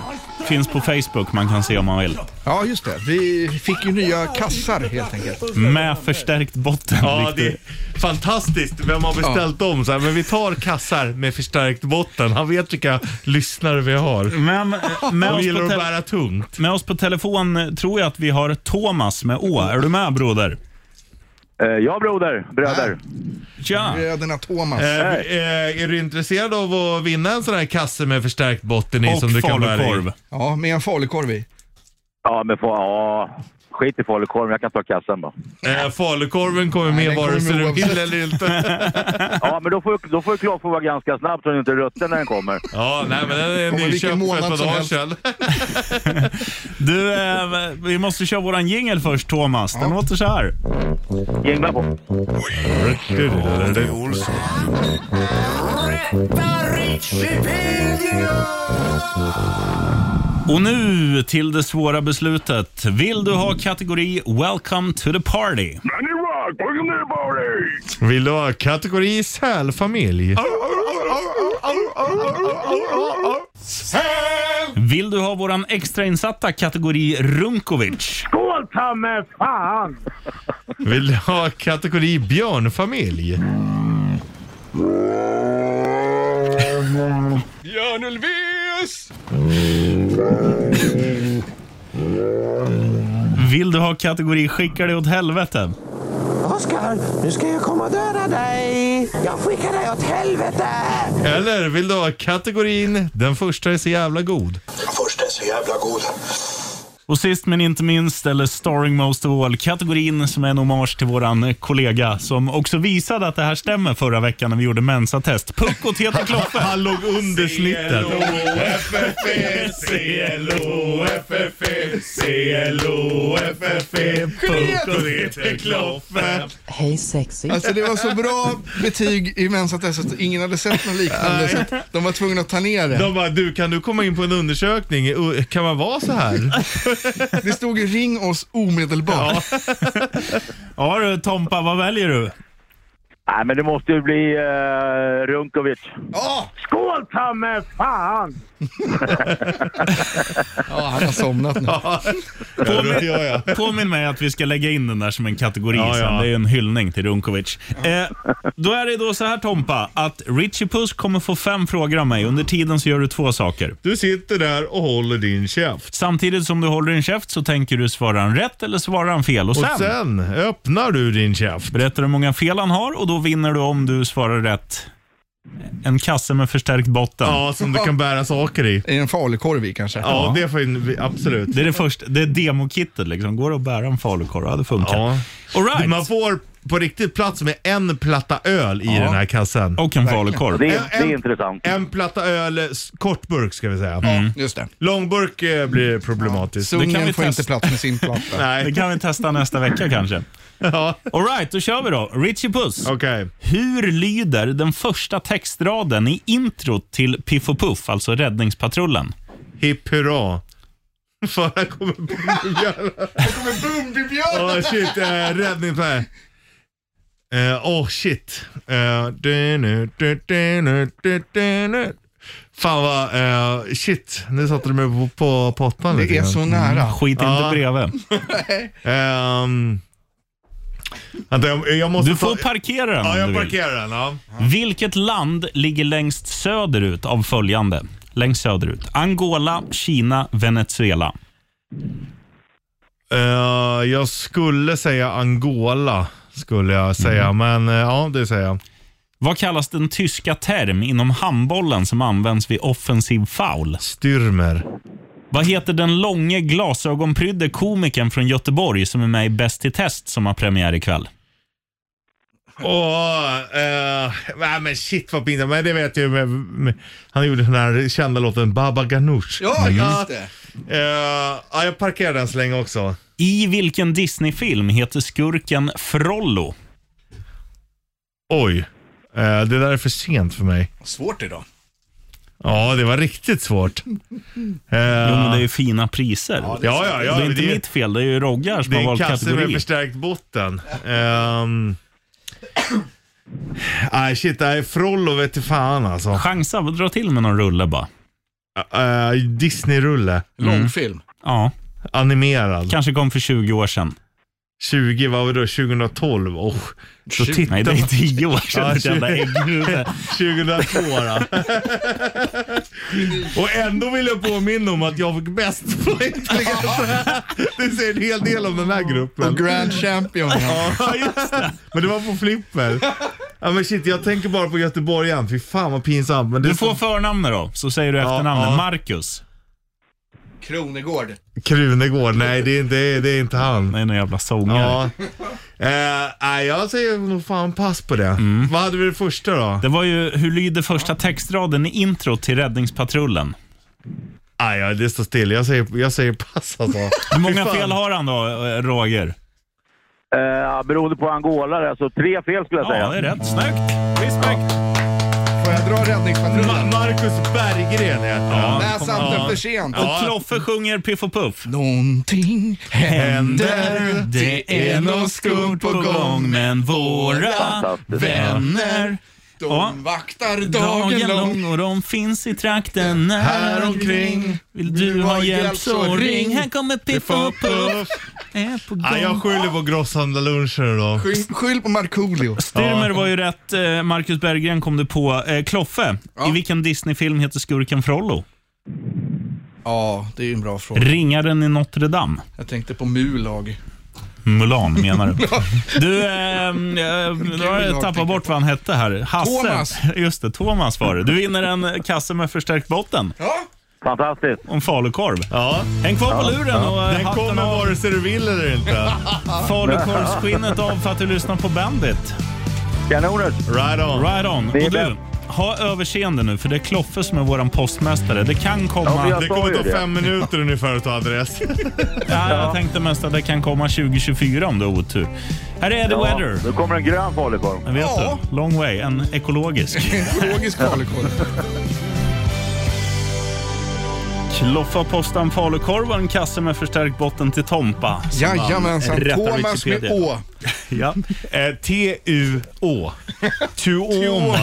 [SPEAKER 2] finns på Facebook, man kan se om man vill.
[SPEAKER 6] Ja, just det. Vi fick ju nya kassar helt enkelt.
[SPEAKER 2] Med förstärkt botten.
[SPEAKER 3] Ja, det
[SPEAKER 2] Victor.
[SPEAKER 3] är fantastiskt. Vem har beställt dem? Så här, men vi tar kassar med förstärkt botten. Han vet vilka lyssnare vi har.
[SPEAKER 2] Men, eh, med,
[SPEAKER 3] De
[SPEAKER 2] oss
[SPEAKER 3] gillar
[SPEAKER 2] på
[SPEAKER 3] att
[SPEAKER 2] te-
[SPEAKER 3] bära tungt.
[SPEAKER 2] med oss på telefon eh, tror jag att vi har Thomas med Å. Är du med broder?
[SPEAKER 7] Eh, ja, broder. Bröder.
[SPEAKER 2] Tja!
[SPEAKER 6] Bröderna Thomas.
[SPEAKER 3] Eh, eh, är du intresserad av att vinna en sån här kasse med förstärkt botten i? som du
[SPEAKER 2] Och
[SPEAKER 3] kan bära i?
[SPEAKER 2] falukorv.
[SPEAKER 6] Ja, med en falukorv i.
[SPEAKER 7] Ja, men få, ja, skit i falukorven. Jag kan ta kassan bara.
[SPEAKER 3] Eh, falukorven kommer med
[SPEAKER 6] den kommer
[SPEAKER 3] vare sig du
[SPEAKER 6] oavsett.
[SPEAKER 3] vill eller inte.
[SPEAKER 7] Ja, men då får du- då får du klart för att vara ganska snabb så den inte är rutten när den kommer.
[SPEAKER 3] Ja, nej men den är
[SPEAKER 6] Kommer vilken
[SPEAKER 3] nyköpt för ett
[SPEAKER 6] månad
[SPEAKER 3] par
[SPEAKER 6] som
[SPEAKER 3] dagar
[SPEAKER 6] helst.
[SPEAKER 3] sedan.
[SPEAKER 2] Du, eh, vi måste köra våran jingel först Thomas. Den låter så här.
[SPEAKER 7] Jingla på.
[SPEAKER 2] Och nu till det svåra beslutet. Vill du ha kategori Welcome to the party?
[SPEAKER 3] Vill du ha kategori sälfamilj?
[SPEAKER 2] Vill du ha våran extrainsatta kategori Runkovic?
[SPEAKER 5] Skål ta mig fan!
[SPEAKER 3] Vill du ha kategori björnfamilj? Björn Ulvaeus!
[SPEAKER 2] Vill du ha kategori Skicka dig åt helvete?
[SPEAKER 8] Oskar, nu ska jag komma och döda dig! Jag skickar dig åt helvete!
[SPEAKER 3] Eller vill du ha kategorin Den första är så jävla god?
[SPEAKER 8] Först är så jävla god.
[SPEAKER 2] Och sist men inte minst, eller starring most of all, kategorin som är en hommage till våran kollega som också visade att det här stämmer förra veckan när vi gjorde mensatest. Pucko heter Kloffe.
[SPEAKER 3] Han låg under snittet. E.
[SPEAKER 4] Hej sexy.
[SPEAKER 6] Alltså det var så bra betyg i Mensatest att ingen hade sett något liknande så att de var tvungna att ta ner det.
[SPEAKER 3] De bara, du kan du komma in på en undersökning? Uh, Kan man vara så här?
[SPEAKER 6] Det stod ju ring oss omedelbart.
[SPEAKER 2] Ja du Tompa, vad väljer du?
[SPEAKER 7] Nej, men det måste ju bli eh, Runkovic.
[SPEAKER 6] Ja,
[SPEAKER 5] Skål ta mig fan!
[SPEAKER 6] ja han har somnat nu.
[SPEAKER 3] Påminn, ja, ja.
[SPEAKER 2] Påminn mig att vi ska lägga in den där som en kategori
[SPEAKER 3] Ja,
[SPEAKER 2] sen.
[SPEAKER 3] ja.
[SPEAKER 2] Det är ju en hyllning till Runkovic. Eh, då är det då så här Tompa, att Richie Puss kommer få fem frågor av mig. Under tiden så gör du två saker.
[SPEAKER 3] Du sitter där och håller din käft.
[SPEAKER 2] Samtidigt som du håller din käft så tänker du svara han rätt eller svara han fel. Och sen,
[SPEAKER 3] Och sen öppnar du din käft.
[SPEAKER 2] berättar du hur många fel han har och då vinner du om du svarar rätt. En kasse med förstärkt botten.
[SPEAKER 3] Ja, som du kan bära saker i.
[SPEAKER 6] I en falukorv i kanske.
[SPEAKER 3] Ja, det får in, absolut.
[SPEAKER 2] Det är det första, det är demokittet liksom. Går det att bära en falukorv? Ja, det funkar.
[SPEAKER 3] Ja.
[SPEAKER 2] All right.
[SPEAKER 3] Man får på riktigt plats med en platta öl i den här kassen.
[SPEAKER 2] Och en falukorv.
[SPEAKER 7] Det är,
[SPEAKER 3] En-
[SPEAKER 7] det
[SPEAKER 3] en-
[SPEAKER 7] är intressant.
[SPEAKER 3] En platta öl, s- kortburk ska vi säga.
[SPEAKER 2] Mm.
[SPEAKER 6] Just det.
[SPEAKER 3] Långburk eh, blir problematiskt.
[SPEAKER 2] Det kan vi
[SPEAKER 6] Sungen får
[SPEAKER 2] testa.
[SPEAKER 6] inte plats med sin platta.
[SPEAKER 2] Det
[SPEAKER 3] Nej,
[SPEAKER 2] kan vi testa nästa vecka kanske.
[SPEAKER 3] ja.
[SPEAKER 2] All right, då kör vi då. Richie Puss.
[SPEAKER 3] okej.
[SPEAKER 2] Hur lyder den första textraden i introt till Piff och Puff, alltså Räddningspatrullen?
[SPEAKER 3] Hipp hurra. Fan, här kommer Bumbibjörn.
[SPEAKER 6] Bumbibjörn!
[SPEAKER 3] Åh shit, eh, räddning på här. Eh, Åh shit. Eh, du, nu, du, du, nu, du, du, nu. Fan vad, eh, shit. Nu satte du mig på, på pottan
[SPEAKER 6] Det är
[SPEAKER 3] grann.
[SPEAKER 6] så nära.
[SPEAKER 2] Skit inte
[SPEAKER 3] Ja.
[SPEAKER 2] bredvid.
[SPEAKER 3] Ehm, Eh, vänta, jag, jag måste
[SPEAKER 2] Du får
[SPEAKER 3] ta...
[SPEAKER 2] parkera den
[SPEAKER 3] Ja,
[SPEAKER 2] om
[SPEAKER 3] jag
[SPEAKER 2] du vill.
[SPEAKER 3] parkerar den. Ja.
[SPEAKER 2] Vilket land ligger längst söderut av följande? Längst söderut. Angola, Kina, Venezuela.
[SPEAKER 3] Eh, jag skulle säga Angola, skulle jag säga.
[SPEAKER 2] Mhm.
[SPEAKER 3] Men eh, ja, det säger jag.
[SPEAKER 2] Vad kallas den tyska term inom handbollen som används vid offensiv foul?
[SPEAKER 3] Styrmer.
[SPEAKER 2] Vad heter den långe glasögonprydde komikern från Göteborg som är med i Bäst i test som har premiär ikväll?
[SPEAKER 3] Åh, eh, nej men shit vad pinsamt. Men det vet jag ju. med- med- Han gjorde den här kända låten Baba Ganoush.
[SPEAKER 6] Ja,
[SPEAKER 2] Mm.
[SPEAKER 6] just det.
[SPEAKER 3] Eh, ja, jag parkerar den så länge också.
[SPEAKER 2] I vilken Disney-film heter skurken Frollo?
[SPEAKER 3] Oj, eh, det där är för sent för mig.
[SPEAKER 6] Svårt idag.
[SPEAKER 3] Ja, det var riktigt svårt. Eh,
[SPEAKER 2] Jo, men det är ju fina priser.
[SPEAKER 3] ja, ja, ja.
[SPEAKER 2] det är inte
[SPEAKER 3] det är-
[SPEAKER 2] mitt fel, det är ju Roggar som
[SPEAKER 3] Det
[SPEAKER 2] har
[SPEAKER 3] är en
[SPEAKER 2] valt
[SPEAKER 3] kasse med
[SPEAKER 2] kategori.
[SPEAKER 3] förstärkt botten. Ehm. Nej shit, nej Frollo vete fan alltså.
[SPEAKER 2] Chansa, dra till med någon rulle bara.
[SPEAKER 3] eh, Disney-rulle.
[SPEAKER 6] Mm.
[SPEAKER 9] Långfilm.
[SPEAKER 2] Ja,
[SPEAKER 3] Animerad.
[SPEAKER 2] kanske kom för 20 år sedan.
[SPEAKER 3] 20, vad var det då? 2012? Oh,
[SPEAKER 2] Så titt- Nej, det är 10 år
[SPEAKER 3] Ja,
[SPEAKER 2] sedan. ditt jävla ägghuvud.
[SPEAKER 3] 2002 då. Och ändå vill jag påminna om att jag fick bäst poäng. Det säger en hel del om den här gruppen.
[SPEAKER 4] Och Grand Champion. Ja.
[SPEAKER 3] Ja, just det. Men det var på flipper. Ja, men shit, jag tänker bara på göteborgaren. Fy fan vad pinsamt. Men det
[SPEAKER 2] Du får förnamnet då, så säger du efternamnet.
[SPEAKER 3] ja.
[SPEAKER 2] Marcus.
[SPEAKER 9] Kronegård.
[SPEAKER 3] Krunegård. Nej, det är inte, det är inte han.
[SPEAKER 2] Det är någon jävla sångare.
[SPEAKER 3] Ja. Eh, nej, jag säger nog fan pass på det. Vad hade vi det första då?
[SPEAKER 2] Det var ju, hur lyder första textraden i intro till Räddningspatrullen?
[SPEAKER 3] Nej, Ah, ja, det står still. Jag säger, jag säger pass alltså.
[SPEAKER 2] Hur många fel har han då, eh, Roger?
[SPEAKER 7] Eh, beroende på angolare, alltså tre fel skulle jag
[SPEAKER 2] Ja,
[SPEAKER 7] säga.
[SPEAKER 2] det är rätt. Snyggt. Respekt.
[SPEAKER 4] Får jag dra räddningspatrullen?
[SPEAKER 3] Ma- Marcus Berggren heter han.
[SPEAKER 4] Där satt den för sent.
[SPEAKER 2] Och Kloffe sjunger Piff och Puff.
[SPEAKER 4] Någonting händer.
[SPEAKER 2] Det
[SPEAKER 4] är något skumt på gång,
[SPEAKER 2] men våra
[SPEAKER 7] Fantastiskt.
[SPEAKER 2] vänner
[SPEAKER 4] De
[SPEAKER 2] Ja.
[SPEAKER 4] vaktar dagen lång.
[SPEAKER 2] och de finns i trakten
[SPEAKER 3] Här omkring.
[SPEAKER 2] Vill du ha hjälp så ring, här kommer Piff och Puff.
[SPEAKER 3] Puff.
[SPEAKER 2] Är på
[SPEAKER 3] Nej, Ah, jag
[SPEAKER 2] gång.
[SPEAKER 3] skyller på grosshandlarlunchen idag.
[SPEAKER 4] Skyll- Skyll på Markoolio.
[SPEAKER 2] Styrmer var ju rätt. eh, Marcus Berggren kom du på. Eh, Kloffe, i vilken Disney-film heter skurken Frollo?
[SPEAKER 9] Ja, det är ju en bra fråga.
[SPEAKER 2] Ringaren i Notre Dame.
[SPEAKER 9] Jag tänkte på Mulag.
[SPEAKER 2] Mulan menar du. Du, ehm, eh, nu har jag tappat bort vad han hette här. Hasse.
[SPEAKER 9] Thomas.
[SPEAKER 2] Just det, Thomas var det. Du vinner en kasse med förstärkt botten
[SPEAKER 7] Fantastiskt.
[SPEAKER 2] och en falukorv.
[SPEAKER 3] Ja,
[SPEAKER 2] Häng kvar på luren och eh,
[SPEAKER 3] den
[SPEAKER 2] hatten
[SPEAKER 3] kommer
[SPEAKER 2] av.
[SPEAKER 3] vare sig du vill eller inte.
[SPEAKER 2] Falukorvsskinnet av för att du lyssnar på Bandit.
[SPEAKER 7] Kanoner.
[SPEAKER 3] Right on.
[SPEAKER 2] Right on.
[SPEAKER 7] Det är
[SPEAKER 2] Och du,
[SPEAKER 7] bäst.
[SPEAKER 2] ha överseende nu för det är Kloffe som är våran postmästare. Det kan komma...
[SPEAKER 7] Ja,
[SPEAKER 3] Det
[SPEAKER 7] vi
[SPEAKER 3] kommer
[SPEAKER 7] Jag sa
[SPEAKER 3] ta
[SPEAKER 7] ju det.
[SPEAKER 3] fem minuter ungefär att ta adress.
[SPEAKER 2] Ja, jag tänkte mest att det kan komma 2024 om du har otur. Här är The Weather.
[SPEAKER 7] nu kommer en grön falukorv.
[SPEAKER 2] Jag vet
[SPEAKER 4] Ja.
[SPEAKER 2] du, long way. En ekologisk.
[SPEAKER 4] Ekologisk falukorv.
[SPEAKER 2] Kloffa postan falukorv och en kasse med förstärkt botten till Tompa. som han
[SPEAKER 4] Jajamensan.
[SPEAKER 2] rättar
[SPEAKER 4] Thomas med
[SPEAKER 2] Wikipedia.
[SPEAKER 4] Å.
[SPEAKER 2] Ja.
[SPEAKER 3] Eh, T-U-Å. Tuoma.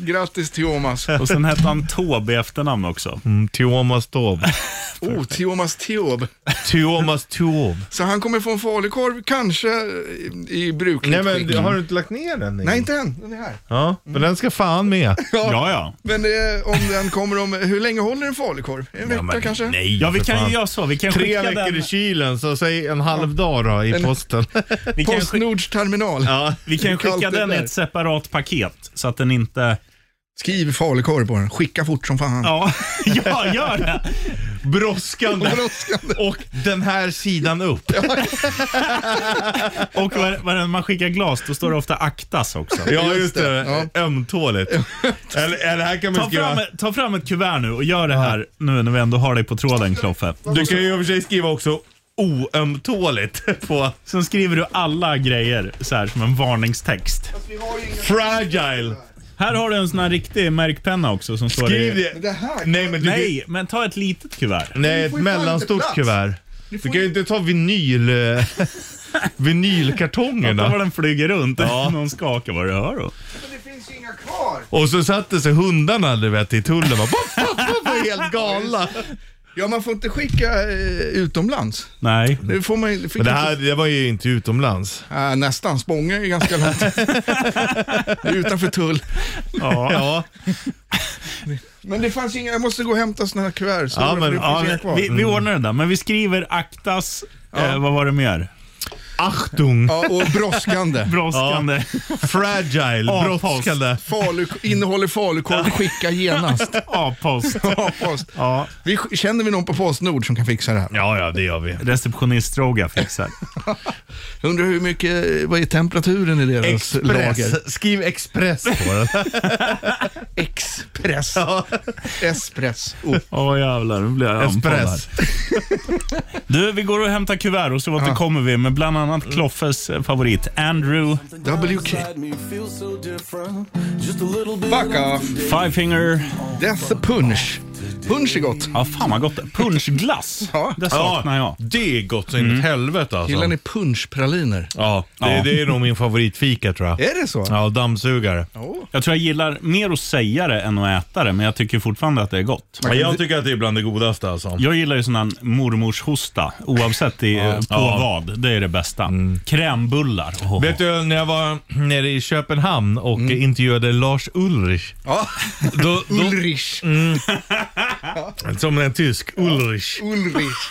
[SPEAKER 4] Grattis Thomas.
[SPEAKER 2] Och sen hette han Tåb i efternamn också.
[SPEAKER 3] Mm, Tuomas Taube.
[SPEAKER 4] Oh, Thomas Teob.
[SPEAKER 3] Tuomas Taube.
[SPEAKER 4] Så han kommer få en falukorv, kanske i- i brukligt
[SPEAKER 3] Nej men
[SPEAKER 4] skick.
[SPEAKER 3] du- har du inte lagt ner den?
[SPEAKER 4] Nej, inte än. Den är här.
[SPEAKER 3] Ja, men den ska fan med.
[SPEAKER 2] Ja, ja.
[SPEAKER 4] Men eh, om den kommer om... Hur länge håller en falukorv? En vecka kanske?
[SPEAKER 3] Nej,
[SPEAKER 2] Ja, vi
[SPEAKER 3] för
[SPEAKER 2] kan
[SPEAKER 3] fan.
[SPEAKER 2] ju göra så. Vi kan
[SPEAKER 3] Tre
[SPEAKER 2] skicka
[SPEAKER 3] veckor i
[SPEAKER 2] den,
[SPEAKER 3] kylen, så säg en halv dag då i posten.
[SPEAKER 2] vi kan skick-
[SPEAKER 4] Postnords terminal.
[SPEAKER 3] ja.
[SPEAKER 2] vi kan skicka
[SPEAKER 4] kallt det
[SPEAKER 2] den i
[SPEAKER 4] där.
[SPEAKER 2] ett separat paket så att den inte...
[SPEAKER 4] Skriv falukorv på den. Skicka fort som fan.
[SPEAKER 2] Ja, ja gör det.
[SPEAKER 3] Brådskande.
[SPEAKER 4] Brådskande.
[SPEAKER 3] Och den här sidan upp.
[SPEAKER 2] Och var, var man skickar glas, då står det ofta aktas också.
[SPEAKER 3] Ja, just
[SPEAKER 4] det.
[SPEAKER 3] det. Ömtåligt. Eller, eller här kan man
[SPEAKER 2] Ta fram,
[SPEAKER 3] skriva...
[SPEAKER 2] ta fram ett kuvert nu och gör det här nu när vi ändå har dig på tråden, Kloffe.
[SPEAKER 3] Du kan ju i och för sig skriva också oömtåligt på
[SPEAKER 2] Sen skriver du alla grejer så här som en varningstext.
[SPEAKER 3] fragile.
[SPEAKER 2] Här har du en sån här riktig märkpenna också som står
[SPEAKER 3] Skriv
[SPEAKER 2] i...
[SPEAKER 3] det.
[SPEAKER 4] Det här kan-
[SPEAKER 3] Nej, men du,
[SPEAKER 2] Nej, men ta ett litet kuvert.
[SPEAKER 3] Nej,
[SPEAKER 4] ju
[SPEAKER 3] ett
[SPEAKER 4] fan inte
[SPEAKER 3] mellanstort
[SPEAKER 4] plats.
[SPEAKER 3] kuvert. Du kan ju inte ta vinyl... eh,
[SPEAKER 2] Fatta vad
[SPEAKER 3] vinylkartongerna.
[SPEAKER 2] den flyger runt.
[SPEAKER 3] Ja.
[SPEAKER 2] Någon skakar vad du hör då.
[SPEAKER 4] Det finns ju inga kvar.
[SPEAKER 3] Och så satte sig hundarna du vet, i tullen och bara... "Boff, boff, boff", var helt galna.
[SPEAKER 4] Ja, man får inte skicka eh, utomlands.
[SPEAKER 2] Nej.
[SPEAKER 4] Det får man ju- fick
[SPEAKER 3] Men det
[SPEAKER 4] inte-
[SPEAKER 3] här det var ju inte utomlands.
[SPEAKER 4] Ah, nästan. Spånga är ju ganska långt. Det är Utanför tull.
[SPEAKER 2] Ja.
[SPEAKER 3] Ja,
[SPEAKER 4] Men det fanns ju inga, jag måste gå och hämta såna här kuvert. Så
[SPEAKER 3] Ja,
[SPEAKER 4] det
[SPEAKER 3] men-
[SPEAKER 4] finns
[SPEAKER 2] Ja,
[SPEAKER 4] inga
[SPEAKER 2] vi-
[SPEAKER 4] kvar.
[SPEAKER 2] vi, vi ordnar det där, men vi skriver aktas, eh, vad var det mer?
[SPEAKER 3] Achtung.
[SPEAKER 4] ja, och brådskande.
[SPEAKER 2] Brådskande.
[SPEAKER 3] Fragile.
[SPEAKER 2] Avpost.
[SPEAKER 3] Brådskande.
[SPEAKER 4] Falu, innehåller falukorv, skicka genast.
[SPEAKER 2] A-post.
[SPEAKER 4] Ja, post.
[SPEAKER 2] Ja.
[SPEAKER 4] Vi, sk- känner vi någon på Postnord som kan fixa det här?
[SPEAKER 3] Ja, ja, det gör vi.
[SPEAKER 2] Receptionist-Roga fixar.
[SPEAKER 4] Undrar hur mycket, vad är temperaturen i deras lager?
[SPEAKER 3] Express. Skriv express på den.
[SPEAKER 4] Express. Espress. Oh.
[SPEAKER 2] Åh jävlar, nu blir jag andfådd här.
[SPEAKER 3] Express.
[SPEAKER 2] Du, vi går och hämtar kuvert och så återkommer vi med bland annat
[SPEAKER 3] Mm.
[SPEAKER 2] Kloffes eh, favorit Andrew
[SPEAKER 4] WK. Fuck off.
[SPEAKER 2] Fivefinger.
[SPEAKER 4] Death Punch. Punsch är gott.
[SPEAKER 2] Ja, fan vad gott. Punschglass,
[SPEAKER 4] Ja.
[SPEAKER 2] det saknar jag.
[SPEAKER 3] det är gott så in i helvete alltså.
[SPEAKER 4] Gillar ni punschpraliner?
[SPEAKER 3] Ja, det,
[SPEAKER 2] Ja.
[SPEAKER 3] det är nog min favoritfika tror jag.
[SPEAKER 4] Är det så?
[SPEAKER 3] Ja, dammsugare.
[SPEAKER 2] Jag tror jag gillar mer att säga det än att äta det, men jag tycker fortfarande att det är gott.
[SPEAKER 3] Men jag tycker att det är bland det godaste alltså.
[SPEAKER 2] Jag gillar ju sån här mormorshosta, oavsett i, eh, på
[SPEAKER 3] Ja. Mm.
[SPEAKER 2] vad. Det är det bästa. Krämbullar. Åh.
[SPEAKER 3] Vet du, när jag var nere i Köpenhamn och intervjuade Lars Ulrich.
[SPEAKER 4] Ja.
[SPEAKER 3] Då, då,
[SPEAKER 4] Ulrich.
[SPEAKER 3] som en tysk, Ulrich.
[SPEAKER 4] Ulrich.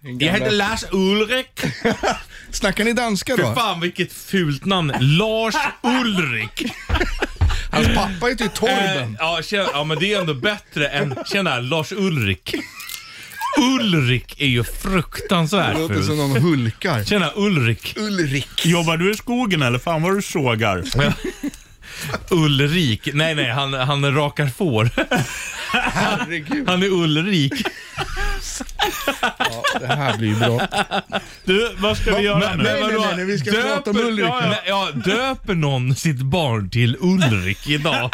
[SPEAKER 4] Den
[SPEAKER 3] Jag heter
[SPEAKER 4] gamla-
[SPEAKER 3] Lars Ulrich.
[SPEAKER 4] Snackar ni danska
[SPEAKER 3] Fy
[SPEAKER 4] då?
[SPEAKER 3] fan vilket fult namn. Lars Ulrich.
[SPEAKER 4] Hans pappa heter ju Torben.
[SPEAKER 3] Eh, ja, tjena, ja, men det är ändå bättre än... Tjena, Lars Ulrik. Ulrik är ju fruktansvärt
[SPEAKER 4] Det låter som
[SPEAKER 3] ful.
[SPEAKER 4] någon hulkar.
[SPEAKER 3] Tjena, Ulrik.
[SPEAKER 4] Ulrik.
[SPEAKER 2] Jobbar du i skogen eller fan vad du sågar?
[SPEAKER 3] Ulrik. Nej, nej, han, han rakar får.
[SPEAKER 4] Herregud.
[SPEAKER 3] Han är Ulrik.
[SPEAKER 4] Det här blir ju bra.
[SPEAKER 2] Du, vad ska vi göra nu?
[SPEAKER 4] nej,
[SPEAKER 3] vadå?
[SPEAKER 4] nej, nej, vi ska prata om Ulrik.
[SPEAKER 3] Ja, ja. Ja, döper någon sitt barn till Ulrik idag?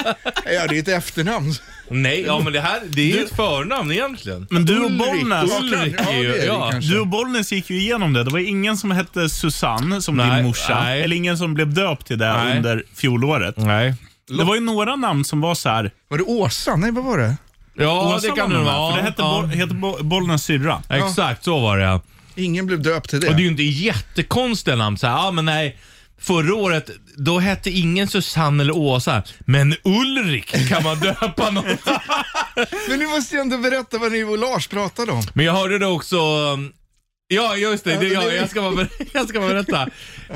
[SPEAKER 4] Ja, det är ett efternamn.
[SPEAKER 3] nej, ja men det här det är ju ett förnamn egentligen.
[SPEAKER 2] Men du och
[SPEAKER 4] Ulrik,
[SPEAKER 2] Bollnäs.
[SPEAKER 3] Ulrik
[SPEAKER 4] Ja, det
[SPEAKER 3] är
[SPEAKER 4] är
[SPEAKER 3] ju...
[SPEAKER 4] det
[SPEAKER 3] Ja.
[SPEAKER 4] kanske.
[SPEAKER 2] Du och Bollnäs gick ju igenom det. Det var ingen som hette Susanne, som
[SPEAKER 3] Nej,
[SPEAKER 2] din morsa.
[SPEAKER 3] nej.
[SPEAKER 2] Eller ingen som blev döpt till det
[SPEAKER 3] Nej.
[SPEAKER 2] under fjolåret.
[SPEAKER 3] Nej.
[SPEAKER 2] Det var ju några namn som var så här.
[SPEAKER 4] Var det Åsa? Nej, vad var det?
[SPEAKER 3] Ja,
[SPEAKER 2] Åsa
[SPEAKER 3] det kan
[SPEAKER 2] var
[SPEAKER 3] det
[SPEAKER 2] någon
[SPEAKER 3] vara.
[SPEAKER 2] här, För det hette,
[SPEAKER 3] ja.
[SPEAKER 2] Boll- hette Bo- Bollnäs syrra.
[SPEAKER 3] Exakt, så var det ja.
[SPEAKER 4] Ingen blev döpt till
[SPEAKER 3] Och det är
[SPEAKER 4] det.
[SPEAKER 3] ju inte jättekonstiga namn. Så här, ja, men nej, förra året då hette ingen Susanne eller Åsa, men Ulrik kan man döpa någon till.
[SPEAKER 4] Men nu måste jag ändå berätta vad ni och Lars pratade om.
[SPEAKER 3] Men jag hörde det också... um, Ja, just det. det ja, jag, ska bara, ber- jag ska bara berätta.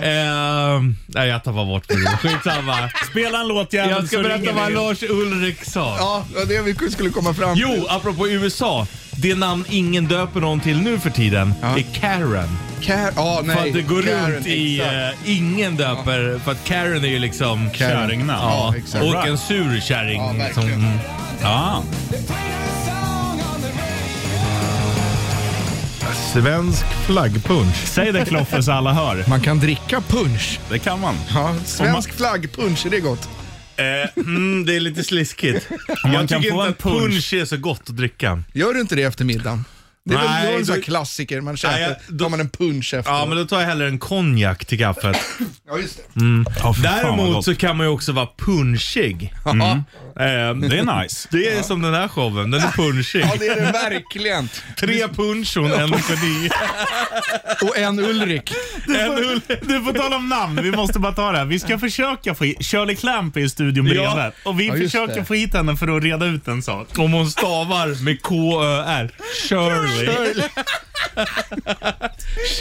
[SPEAKER 3] Ehm, nej, jag tappar bort det. Skitsamma.
[SPEAKER 2] Spela en låt jävel,
[SPEAKER 3] Jag ska
[SPEAKER 2] så ringer
[SPEAKER 3] berätta
[SPEAKER 2] vi
[SPEAKER 3] vad
[SPEAKER 2] in.
[SPEAKER 3] Lars Ulrik sa.
[SPEAKER 4] Ja, det var det vi skulle komma fram till.
[SPEAKER 3] Jo, apropå USA. Det namn ingen döper någon till nu för tiden
[SPEAKER 4] Ja.
[SPEAKER 3] är Karen.
[SPEAKER 4] Car- ja, nej.
[SPEAKER 3] För att det går
[SPEAKER 4] Karen,
[SPEAKER 3] runt i...
[SPEAKER 4] exakt.
[SPEAKER 3] eh, ingen döper... För att Karen är ju liksom...
[SPEAKER 2] Kärringna.
[SPEAKER 3] Ja,
[SPEAKER 4] Ja, exakt.
[SPEAKER 3] och en sur kärring.
[SPEAKER 4] Ja, verkligen.
[SPEAKER 3] som- mm.
[SPEAKER 2] Ja.
[SPEAKER 3] Svensk flaggpunsch.
[SPEAKER 2] Säg det Kloffe så alla hör.
[SPEAKER 4] Man kan dricka punsch.
[SPEAKER 2] Det kan man.
[SPEAKER 4] Ja, svensk flaggpunsch, är det gott?
[SPEAKER 3] Mm, det är lite sliskigt.
[SPEAKER 2] Om man
[SPEAKER 3] Jag
[SPEAKER 2] kan
[SPEAKER 3] tycker
[SPEAKER 2] få
[SPEAKER 3] inte
[SPEAKER 2] en
[SPEAKER 3] att punsch.
[SPEAKER 2] punsch.
[SPEAKER 3] är så gott att dricka.
[SPEAKER 4] Gör du inte det efter middagen? Det är
[SPEAKER 3] Nej,
[SPEAKER 4] väl någon sån här
[SPEAKER 3] då-
[SPEAKER 4] klassiker, man käkar,
[SPEAKER 3] jag- då-
[SPEAKER 4] tar man en punsch efter.
[SPEAKER 3] Ja, Mm. men då tar jag hellre en konjak till kaffet.
[SPEAKER 4] Ja, just det.
[SPEAKER 2] Ja, för fan vad
[SPEAKER 3] Däremot
[SPEAKER 2] gott.
[SPEAKER 3] så kan man ju också vara punschig.
[SPEAKER 4] Ja,
[SPEAKER 3] Ehm,
[SPEAKER 2] Det är nice.
[SPEAKER 3] det är som den här showen, den är punschig.
[SPEAKER 4] ja, det är det verkligen.
[SPEAKER 3] Tre punschon, en geni.
[SPEAKER 4] Och en Ulrik.
[SPEAKER 2] En ull- Du får tala om namn, vi måste bara ta det här. Vi ska försöka få hit... Shirley Clamp är i studion bredvid.
[SPEAKER 3] Ja.
[SPEAKER 2] Och vi
[SPEAKER 4] Ja, just
[SPEAKER 2] försöker
[SPEAKER 4] det.
[SPEAKER 2] få hit henne för att reda ut en sak.
[SPEAKER 3] Om hon stavar med K-Ö-R. Shirley.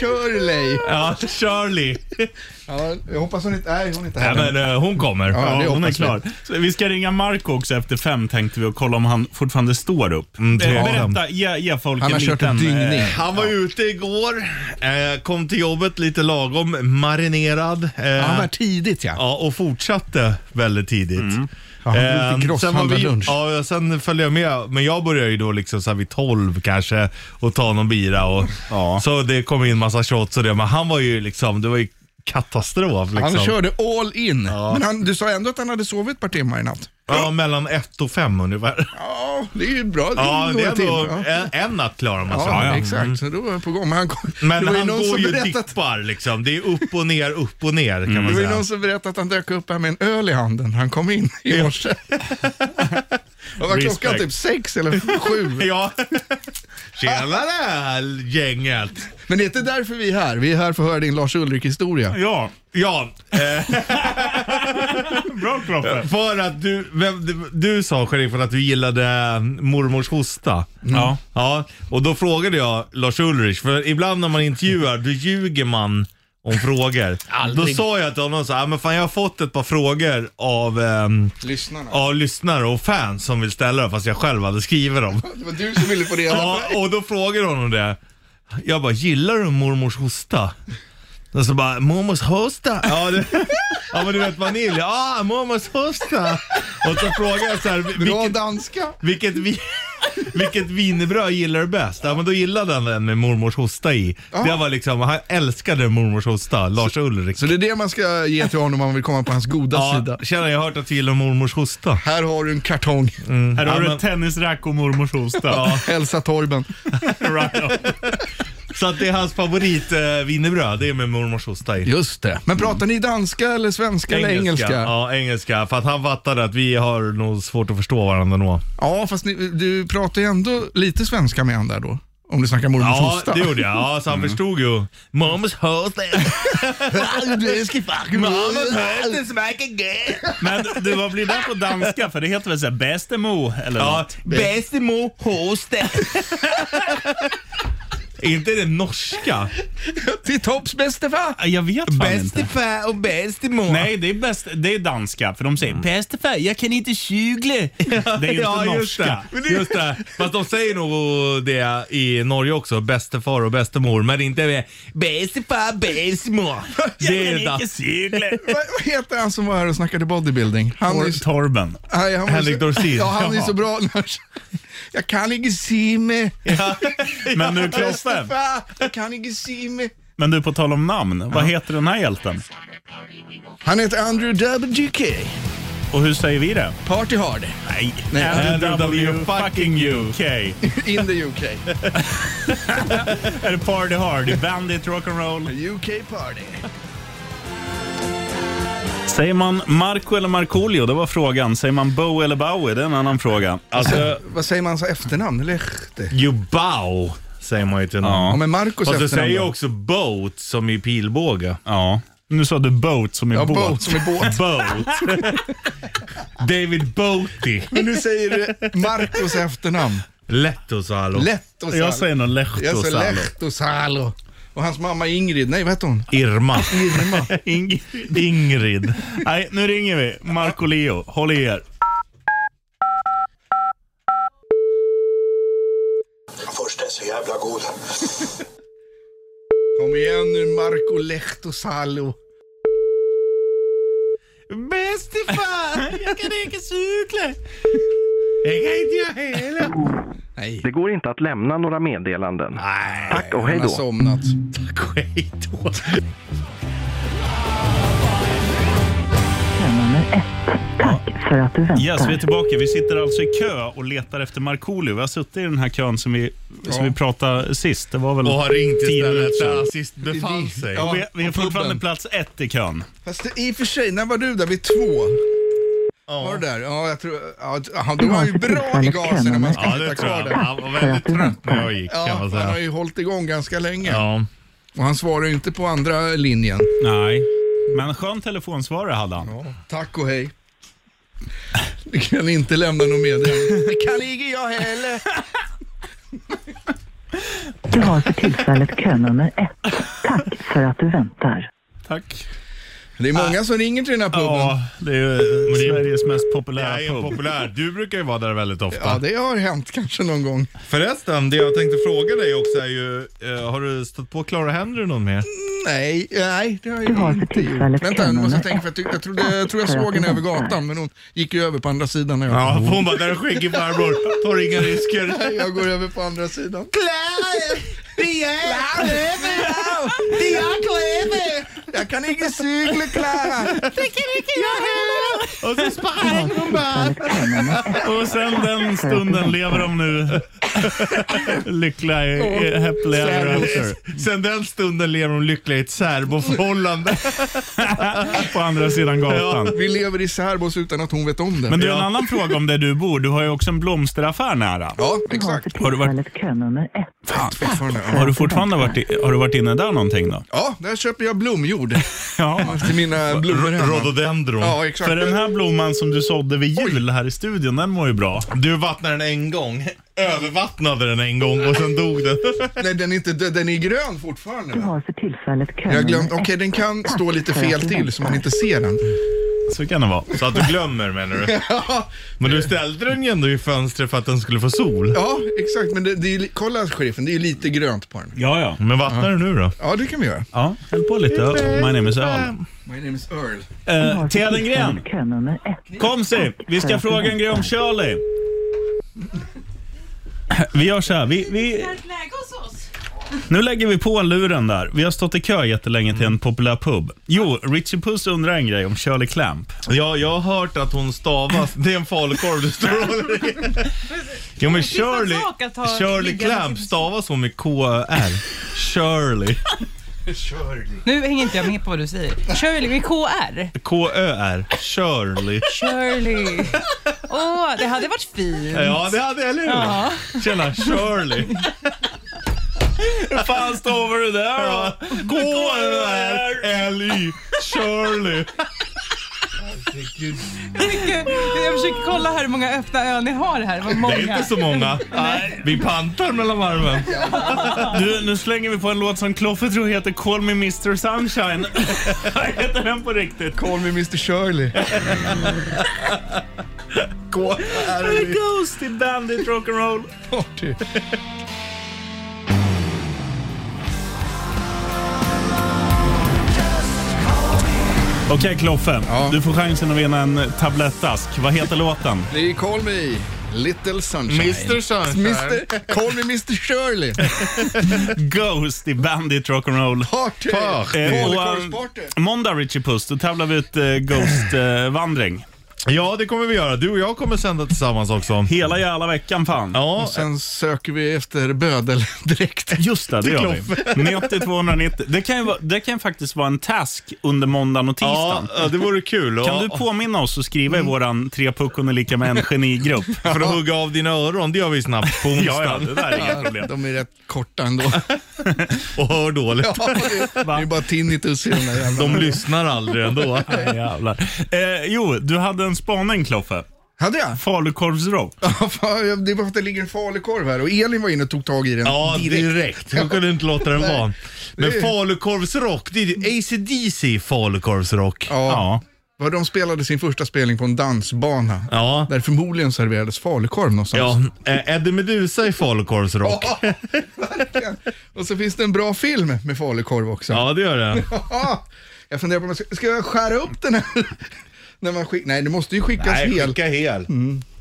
[SPEAKER 4] Shirley.
[SPEAKER 3] Ja, Shirley.
[SPEAKER 4] Ja, jag hoppas hon inte... Nej, hon är inte
[SPEAKER 3] Ja,
[SPEAKER 4] här.
[SPEAKER 3] men, eh, hon kommer.
[SPEAKER 4] Ja, det
[SPEAKER 2] Ja, hon är
[SPEAKER 4] hoppas vi.
[SPEAKER 2] klar. Så vi ska ringa Marco också efter fem tänkte vi och kolla om han fortfarande står upp. Mm,
[SPEAKER 3] det är han.
[SPEAKER 2] Berätta, ge, ge folk
[SPEAKER 4] Han
[SPEAKER 2] en
[SPEAKER 4] har
[SPEAKER 2] liten...
[SPEAKER 4] kört en dyngning.
[SPEAKER 2] eh,
[SPEAKER 3] Han var ute igår, eh, kom till jobbet lite lagom marinerad. Eh,
[SPEAKER 4] Ja, han var tidigt ja.
[SPEAKER 3] ja, och fortsatte väldigt tidigt.
[SPEAKER 4] Mm. ja han drog till
[SPEAKER 3] Eh, sen, var vi,
[SPEAKER 4] grosshandlarlunch.
[SPEAKER 3] ja, sen följde jag med, men jag började ju då liksom så här vid 12 kanske och ta någon bira. Och,
[SPEAKER 2] Ja.
[SPEAKER 3] Så det kom in massa shots och det, men han var ju liksom, det var ju katastrof. Liksom.
[SPEAKER 4] Han körde all in. Men han, du sa ändå att han hade sovit ett par timmar i natt.
[SPEAKER 3] Ja, mellan 1 och 5 ungefär.
[SPEAKER 4] Ja, det är ju bra. Det är
[SPEAKER 3] Ja, det
[SPEAKER 4] några
[SPEAKER 3] är ändå,
[SPEAKER 4] timmar, ja.
[SPEAKER 3] en, alltså, en natt klarar man sig.
[SPEAKER 4] Ja,
[SPEAKER 2] ja.
[SPEAKER 4] exakt. Så då var jag på gång. Men, han kom,
[SPEAKER 3] Mm. Men
[SPEAKER 4] det var
[SPEAKER 3] han
[SPEAKER 4] någon
[SPEAKER 3] går
[SPEAKER 4] som
[SPEAKER 3] ju
[SPEAKER 4] berättat- Mm.
[SPEAKER 3] dippar liksom. Det är upp och ner, upp och ner kan man
[SPEAKER 4] Det var ju
[SPEAKER 3] säga.
[SPEAKER 4] någon som berättade att han dök upp här med en öl i handen när han kom in i morse. Vad var klockan?
[SPEAKER 2] Respekt.
[SPEAKER 4] Typ sex eller sju?
[SPEAKER 3] Ja. Tjenare gänget.
[SPEAKER 4] Men det är inte därför vi är här. Vi är här för att höra din Lars Ulrik-historia.
[SPEAKER 2] Ja,
[SPEAKER 3] Ja, eh,
[SPEAKER 2] bra Kloffe.
[SPEAKER 3] för att du, vem, du, du sa sheriffen att du gillade mormors hosta.
[SPEAKER 2] Ja.
[SPEAKER 3] Ja, och då frågade jag Lars Ulrich, för ibland när man intervjuar då ljuger man om frågor. Då sa jag till honom så här, "Ah, men fan jag har fått ett par frågor av, ehm,
[SPEAKER 4] Lyssnarna.
[SPEAKER 3] av lyssnare och fans som vill ställa dem fast jag själv hade skrivit dem.
[SPEAKER 4] Det var du som ville få reda på
[SPEAKER 3] Ja, och då frågar honom det. Jag bara, gillar du mormors hosta? Och så bara, mormors hosta? Ja, det, ja men du vet vanilj. Ja, mormors hosta. Och så frågar jag så här,
[SPEAKER 4] Bra
[SPEAKER 3] vilket,
[SPEAKER 4] danska.
[SPEAKER 3] vilket, vi- vilket wienerbröd gillar du bäst? Ja, men då gillade han den med mormors hosta i. Det var liksom, han älskade mormors hosta, Lars Ulrik.
[SPEAKER 4] Så det är det man ska ge till honom om man vill komma på hans goda
[SPEAKER 3] Ja,
[SPEAKER 4] sida.
[SPEAKER 3] tjena, jag har hört att du gillar mormors hosta.
[SPEAKER 4] Här har du en kartong.
[SPEAKER 2] Här har
[SPEAKER 3] Ja,
[SPEAKER 2] du
[SPEAKER 3] men-
[SPEAKER 2] ett tennisrack och mormors hosta.
[SPEAKER 4] Hälsa Torben.
[SPEAKER 2] Right on.
[SPEAKER 3] Så att det är hans favorit eh, wienerbröd, det är med mormors hosta i.
[SPEAKER 4] Just det. Men pratar ni danska eller svenska eller engelska? Ja,
[SPEAKER 3] Ja, engelska. För att han fattade att vi har nog svårt att förstå varandra nog.
[SPEAKER 4] fast ni, du pratar ju ändå lite svenska med han där då. Om du snackar mormors
[SPEAKER 3] Ja,
[SPEAKER 4] hosta. Mm.
[SPEAKER 3] det gjorde jag. Ja, så han förstod ju. Mormors hosta. Mormors hosta smakar gött.
[SPEAKER 2] Men du, vad blir det på danska? För det heter väl såhär bästemo eller
[SPEAKER 3] Ja,
[SPEAKER 2] något?
[SPEAKER 3] bästemo hosta. Är inte det norska?
[SPEAKER 4] Till topps bäste fan.
[SPEAKER 2] Jag vet fan inte.
[SPEAKER 3] Bästefar och bästemor.
[SPEAKER 2] Nej, det är, bäst, det är danska, för de säger
[SPEAKER 3] Mm.
[SPEAKER 2] bästefar, jag kan inte tjugle. Det är ju inte
[SPEAKER 3] just
[SPEAKER 2] norska.
[SPEAKER 3] det. Just det. Fast de säger nog det i Norge också, bästefar och bästemor. Men inte med bästefar, bästemor. Det är inte...
[SPEAKER 2] tjugle.
[SPEAKER 4] Vad vad heter han som var här och snackade bodybuilding? Han är,
[SPEAKER 2] Torben.
[SPEAKER 4] nej, han var
[SPEAKER 3] Henrik
[SPEAKER 4] så-
[SPEAKER 3] Dorsin.
[SPEAKER 4] Ja, han är
[SPEAKER 3] Jaha.
[SPEAKER 4] så bra. annars. Jag kan inte se mig.
[SPEAKER 2] Men du Kloffe,
[SPEAKER 4] Stefan, Jag kan inte se mig.
[SPEAKER 2] men du på tal om namn, vad heter den här hjälten?
[SPEAKER 4] Han heter Andrew WK.
[SPEAKER 2] Och hur säger vi det?
[SPEAKER 4] Party hard.
[SPEAKER 2] Nej.
[SPEAKER 4] Nej.
[SPEAKER 2] W fucking UK.
[SPEAKER 4] In the UK.
[SPEAKER 2] Är det Party Hard, Bandit Rock'n'Roll?
[SPEAKER 4] UK party.
[SPEAKER 2] Säger man Marco eller Markoolio? Det var frågan. Säger man Bow eller Bowie? Det är en annan fråga.
[SPEAKER 3] Alltså,
[SPEAKER 4] Vad säger man så efternamn? Lehte?
[SPEAKER 3] jubau säger man ju till någon.
[SPEAKER 4] Ja, men Marcos
[SPEAKER 3] Fast du
[SPEAKER 4] efternamn
[SPEAKER 3] säger ju
[SPEAKER 4] då?
[SPEAKER 3] också boat som i pilbåge.
[SPEAKER 2] Ja. Nu sa du boat som i
[SPEAKER 4] Ja,
[SPEAKER 2] båt.
[SPEAKER 4] boat som är båt.
[SPEAKER 2] Boat.
[SPEAKER 3] David Boaty.
[SPEAKER 4] Men nu säger du Marcos efternamn.
[SPEAKER 3] Lehtosalo.
[SPEAKER 4] Lehtosalo.
[SPEAKER 2] Jag säger nog
[SPEAKER 4] Jag
[SPEAKER 2] Lehtosalo.
[SPEAKER 4] säger Lehtosalo. Och hans mamma Ingrid, nej vad hette hon?
[SPEAKER 3] Irma.
[SPEAKER 4] Irma.
[SPEAKER 2] Ingrid.
[SPEAKER 3] Ingrid.
[SPEAKER 2] Nej, nu ringer vi. Marco Leo, håll i er.
[SPEAKER 8] Först är så jävla god.
[SPEAKER 4] Kom igen nu Marco Lehtosalo.
[SPEAKER 3] Bästifar! Jag kan inte cykla. Jag kan inte jag heller.
[SPEAKER 10] Det går inte att lämna några meddelanden. Tack och hej
[SPEAKER 4] Han har
[SPEAKER 10] då.
[SPEAKER 3] Alltså,
[SPEAKER 4] somnat.
[SPEAKER 3] Hej då.
[SPEAKER 11] för att du väntar.
[SPEAKER 2] Yes, vi är tillbaka. Vi sitter alltså i kö och letar efter Markoolio. Vi har suttit i den här kön som vi, som vi pratade sist. Det var väl
[SPEAKER 3] Och har ringt
[SPEAKER 2] tio minuter
[SPEAKER 3] istället där
[SPEAKER 2] sedan.
[SPEAKER 3] assist befann sig.
[SPEAKER 4] Ja.
[SPEAKER 2] Vi, vi är
[SPEAKER 4] och puben.
[SPEAKER 2] fortfarande plats ett i kön.
[SPEAKER 4] Fast det- i och för sig, när var du där? Vid två? Var du där? Ja, jag tror... Ja, han- då var han ju bra i gasen när man ska
[SPEAKER 3] Ja,
[SPEAKER 4] sitta
[SPEAKER 3] det tror
[SPEAKER 4] kvar
[SPEAKER 3] jag.
[SPEAKER 4] där.
[SPEAKER 3] Han var väldigt trött när jag gick kan
[SPEAKER 4] Ja,
[SPEAKER 3] man
[SPEAKER 4] han har
[SPEAKER 3] säga.
[SPEAKER 4] ju hållit igång ganska länge.
[SPEAKER 3] Ja.
[SPEAKER 4] Och han svarar ju inte på andra linjen.
[SPEAKER 2] Nej. Men skön telefonsvarare hade han.
[SPEAKER 4] Tack och hej. Du kan inte lämna något meddelande. kan inte jag heller.
[SPEAKER 11] Du har för tillfället könummer 1. Tack för att du väntar.
[SPEAKER 2] Tack.
[SPEAKER 4] Det är många som ringer till den här puben. Ja,
[SPEAKER 2] Ja, det är ju eh, Sveriges mest populära
[SPEAKER 3] Det är
[SPEAKER 2] pub.
[SPEAKER 3] populär. Du brukar ju vara där väldigt ofta.
[SPEAKER 4] det har hänt kanske någon gång.
[SPEAKER 3] Förresten, det jag tänkte fråga dig också är ju, eh, har du stött på Clara Henry någon mer?
[SPEAKER 4] Nej, nej det har jag
[SPEAKER 11] Du har för
[SPEAKER 4] inte
[SPEAKER 11] tillfället
[SPEAKER 4] Vänta, nu måste jag
[SPEAKER 11] könummer
[SPEAKER 4] tänka för jag, tyckte, jag, trodde, jag tror jag såg henne över gatan men hon gick ju över på andra sidan. När jag,
[SPEAKER 3] Ja, hon bara, där är skäggig farbror, tar inga risker.
[SPEAKER 4] jag går över på andra sidan. Jag kan inte cykla Klara.
[SPEAKER 3] Och så sprang hon bara.
[SPEAKER 2] Och sen den stunden lever de nu lyckliga, eh, happily ever after
[SPEAKER 3] Sen den stunden lever hon lycklig i ett särboförhållande.
[SPEAKER 2] på andra sidan gatan.
[SPEAKER 4] Vi lever i särbos utan att hon vet om det.
[SPEAKER 2] Men du, en annan fråga om där du bor. Du har ju också en blomsteraffär nära.
[SPEAKER 4] Ja,
[SPEAKER 11] Du har
[SPEAKER 4] exakt.
[SPEAKER 11] för
[SPEAKER 2] Har du varit-
[SPEAKER 11] tillfället könummer 1.
[SPEAKER 4] Fan, fortfarande. Ja.
[SPEAKER 2] Har du fortfarande varit, i, har du varit inne där någonting då?
[SPEAKER 4] Ja, där köper jag blomjord
[SPEAKER 2] Ja.
[SPEAKER 4] till mina blommor hemma.
[SPEAKER 3] Rhododendron.
[SPEAKER 4] Ja, exakt.
[SPEAKER 2] För den här blomman som du sådde vid jul här i studion, den mår ju bra.
[SPEAKER 3] Du vattnade den en gång, övervattnade den en gång och sen dog den.
[SPEAKER 4] Nej, den är inte död. Den är grön fortfarande.
[SPEAKER 11] Du har för tillfället könummer 1.
[SPEAKER 4] Jag har glömt. Okej, den kan stå lite fel till så man inte ser den.
[SPEAKER 2] Så kan det vara.
[SPEAKER 3] Så att du glömmer menar du?
[SPEAKER 4] Ja,
[SPEAKER 3] Men du ställde den ju ändå i fönstret för att den skulle få sol.
[SPEAKER 4] ja exakt. Men det, det är ju, li- kolla sheriffen, det är ju lite grönt på den.
[SPEAKER 2] Ja, ja.
[SPEAKER 3] Men vattnar du nu då?
[SPEAKER 4] Ja, det kan vi göra.
[SPEAKER 2] Ja, häll på lite. My name is Earl.
[SPEAKER 4] My name is Earl.
[SPEAKER 2] Eh, Tedengren,
[SPEAKER 11] Könummer 1.
[SPEAKER 2] komsi! Vi ska fråga en grej om Shirley. Vi gör så här. Vi, vi, nu lägger vi på luren där. Vi har stått i kö jättelänge till
[SPEAKER 3] Mm.
[SPEAKER 2] en populär pub. Jo, Richie Puss undrar en grej om Shirley Clamp.
[SPEAKER 3] Ja, jag har hört att hon stavas... Det är en falukorv du står och håller i. Jo men Shirley,
[SPEAKER 12] sak att ha
[SPEAKER 3] Shirley
[SPEAKER 12] liggande
[SPEAKER 3] Clamp stavas hon med K-R. Shirley.
[SPEAKER 12] Nu hänger inte jag med på vad du säger. Shirley med KR.
[SPEAKER 3] K-Ö-R. Shirley.
[SPEAKER 12] Shirley. Åh, det hade varit fint.
[SPEAKER 3] Ja, det hade jag, eller hur?
[SPEAKER 12] Ja.
[SPEAKER 3] Tjena, Shirley.
[SPEAKER 2] Hur fan stavar du där då?
[SPEAKER 3] K-Ö-R-L-Y. Shirley.
[SPEAKER 12] Mycket- Jag försöker kolla här hur många öppna ögon ni har här. Vad
[SPEAKER 3] Det
[SPEAKER 12] många.
[SPEAKER 3] är inte så många. Vi pantar mellan varven.
[SPEAKER 2] Du, nu slänger vi på en låt som Kloffe tror heter Call Me Mr Sunshine. Vad heter den på riktigt?
[SPEAKER 4] Call me Mr Shirley.
[SPEAKER 2] Here goes the bandit rock'n'roll.
[SPEAKER 4] Party.
[SPEAKER 2] Okej Kloffe, du får chansen att vinna en tablettask. Vad heter låten?
[SPEAKER 4] Det är Call me Little Sunshine.
[SPEAKER 3] Mr Sunshine.
[SPEAKER 4] Mr. Call me Mr Shirley.
[SPEAKER 2] Ghost i Bandit Rock'n'Roll.
[SPEAKER 4] Party.
[SPEAKER 3] Party.
[SPEAKER 2] Eh, och,
[SPEAKER 4] Falukorvsparty.
[SPEAKER 2] eh, Måndag Richie Puss, då tävlar vi ut eh, Ghost-vandring.
[SPEAKER 3] Ja, det kommer vi göra. Du och jag kommer sända tillsammans också.
[SPEAKER 2] Hela jävla veckan fan.
[SPEAKER 3] Ja,
[SPEAKER 4] Sen söker vi efter bödeldräkt.
[SPEAKER 2] Just det, det gör vi. 90 290. Det kan, ju vara, det kan faktiskt vara en task under måndagen och
[SPEAKER 3] ja
[SPEAKER 2] tisdagen.
[SPEAKER 3] det vore kul.
[SPEAKER 2] Kan
[SPEAKER 3] Och-
[SPEAKER 2] du påminna oss och skriva i våran tre puckon är lika med en genigrupp?
[SPEAKER 3] För att hugga av dina öron, det gör vi snabbt på
[SPEAKER 2] Ja, ja,
[SPEAKER 3] onsdagen.
[SPEAKER 2] det där är inga problem.
[SPEAKER 4] De är rätt korta ändå.
[SPEAKER 3] Och hör dåligt.
[SPEAKER 4] Ja, det, det är bara tinnitus i de där jävlarna.
[SPEAKER 3] De lyssnar aldrig ändå.
[SPEAKER 2] Mm. Nej, Jävlar. Eh, jo, du hade en spaning Kloffe.
[SPEAKER 4] Hade jag?
[SPEAKER 2] Falukorvsrock.
[SPEAKER 4] Ja, fan, det är bara för att det ligger en falukorv här och Elin var inne och tog tag i den
[SPEAKER 3] Ja,
[SPEAKER 4] direkt.
[SPEAKER 3] direkt. Jag kunde inte låta den vara. Men falukorvsrock, det är ju ACDC falukorvsrock.
[SPEAKER 4] Ja.
[SPEAKER 2] Ja.
[SPEAKER 4] Var de spelade sin första spelning på en dansbana.
[SPEAKER 3] Ja.
[SPEAKER 4] Där förmodligen serverades falukorv
[SPEAKER 3] Ja,
[SPEAKER 4] någonstans.
[SPEAKER 3] eh, Eddie Meduza i falukorvsrock.
[SPEAKER 4] verkligen. och så finns det en bra film med falukorv också.
[SPEAKER 3] Ja, det gör det.
[SPEAKER 4] Ja. Jag funderar på om jag ska, ska jag skära upp den här? När man skick, nej, det måste ju skickas hel.
[SPEAKER 3] hel.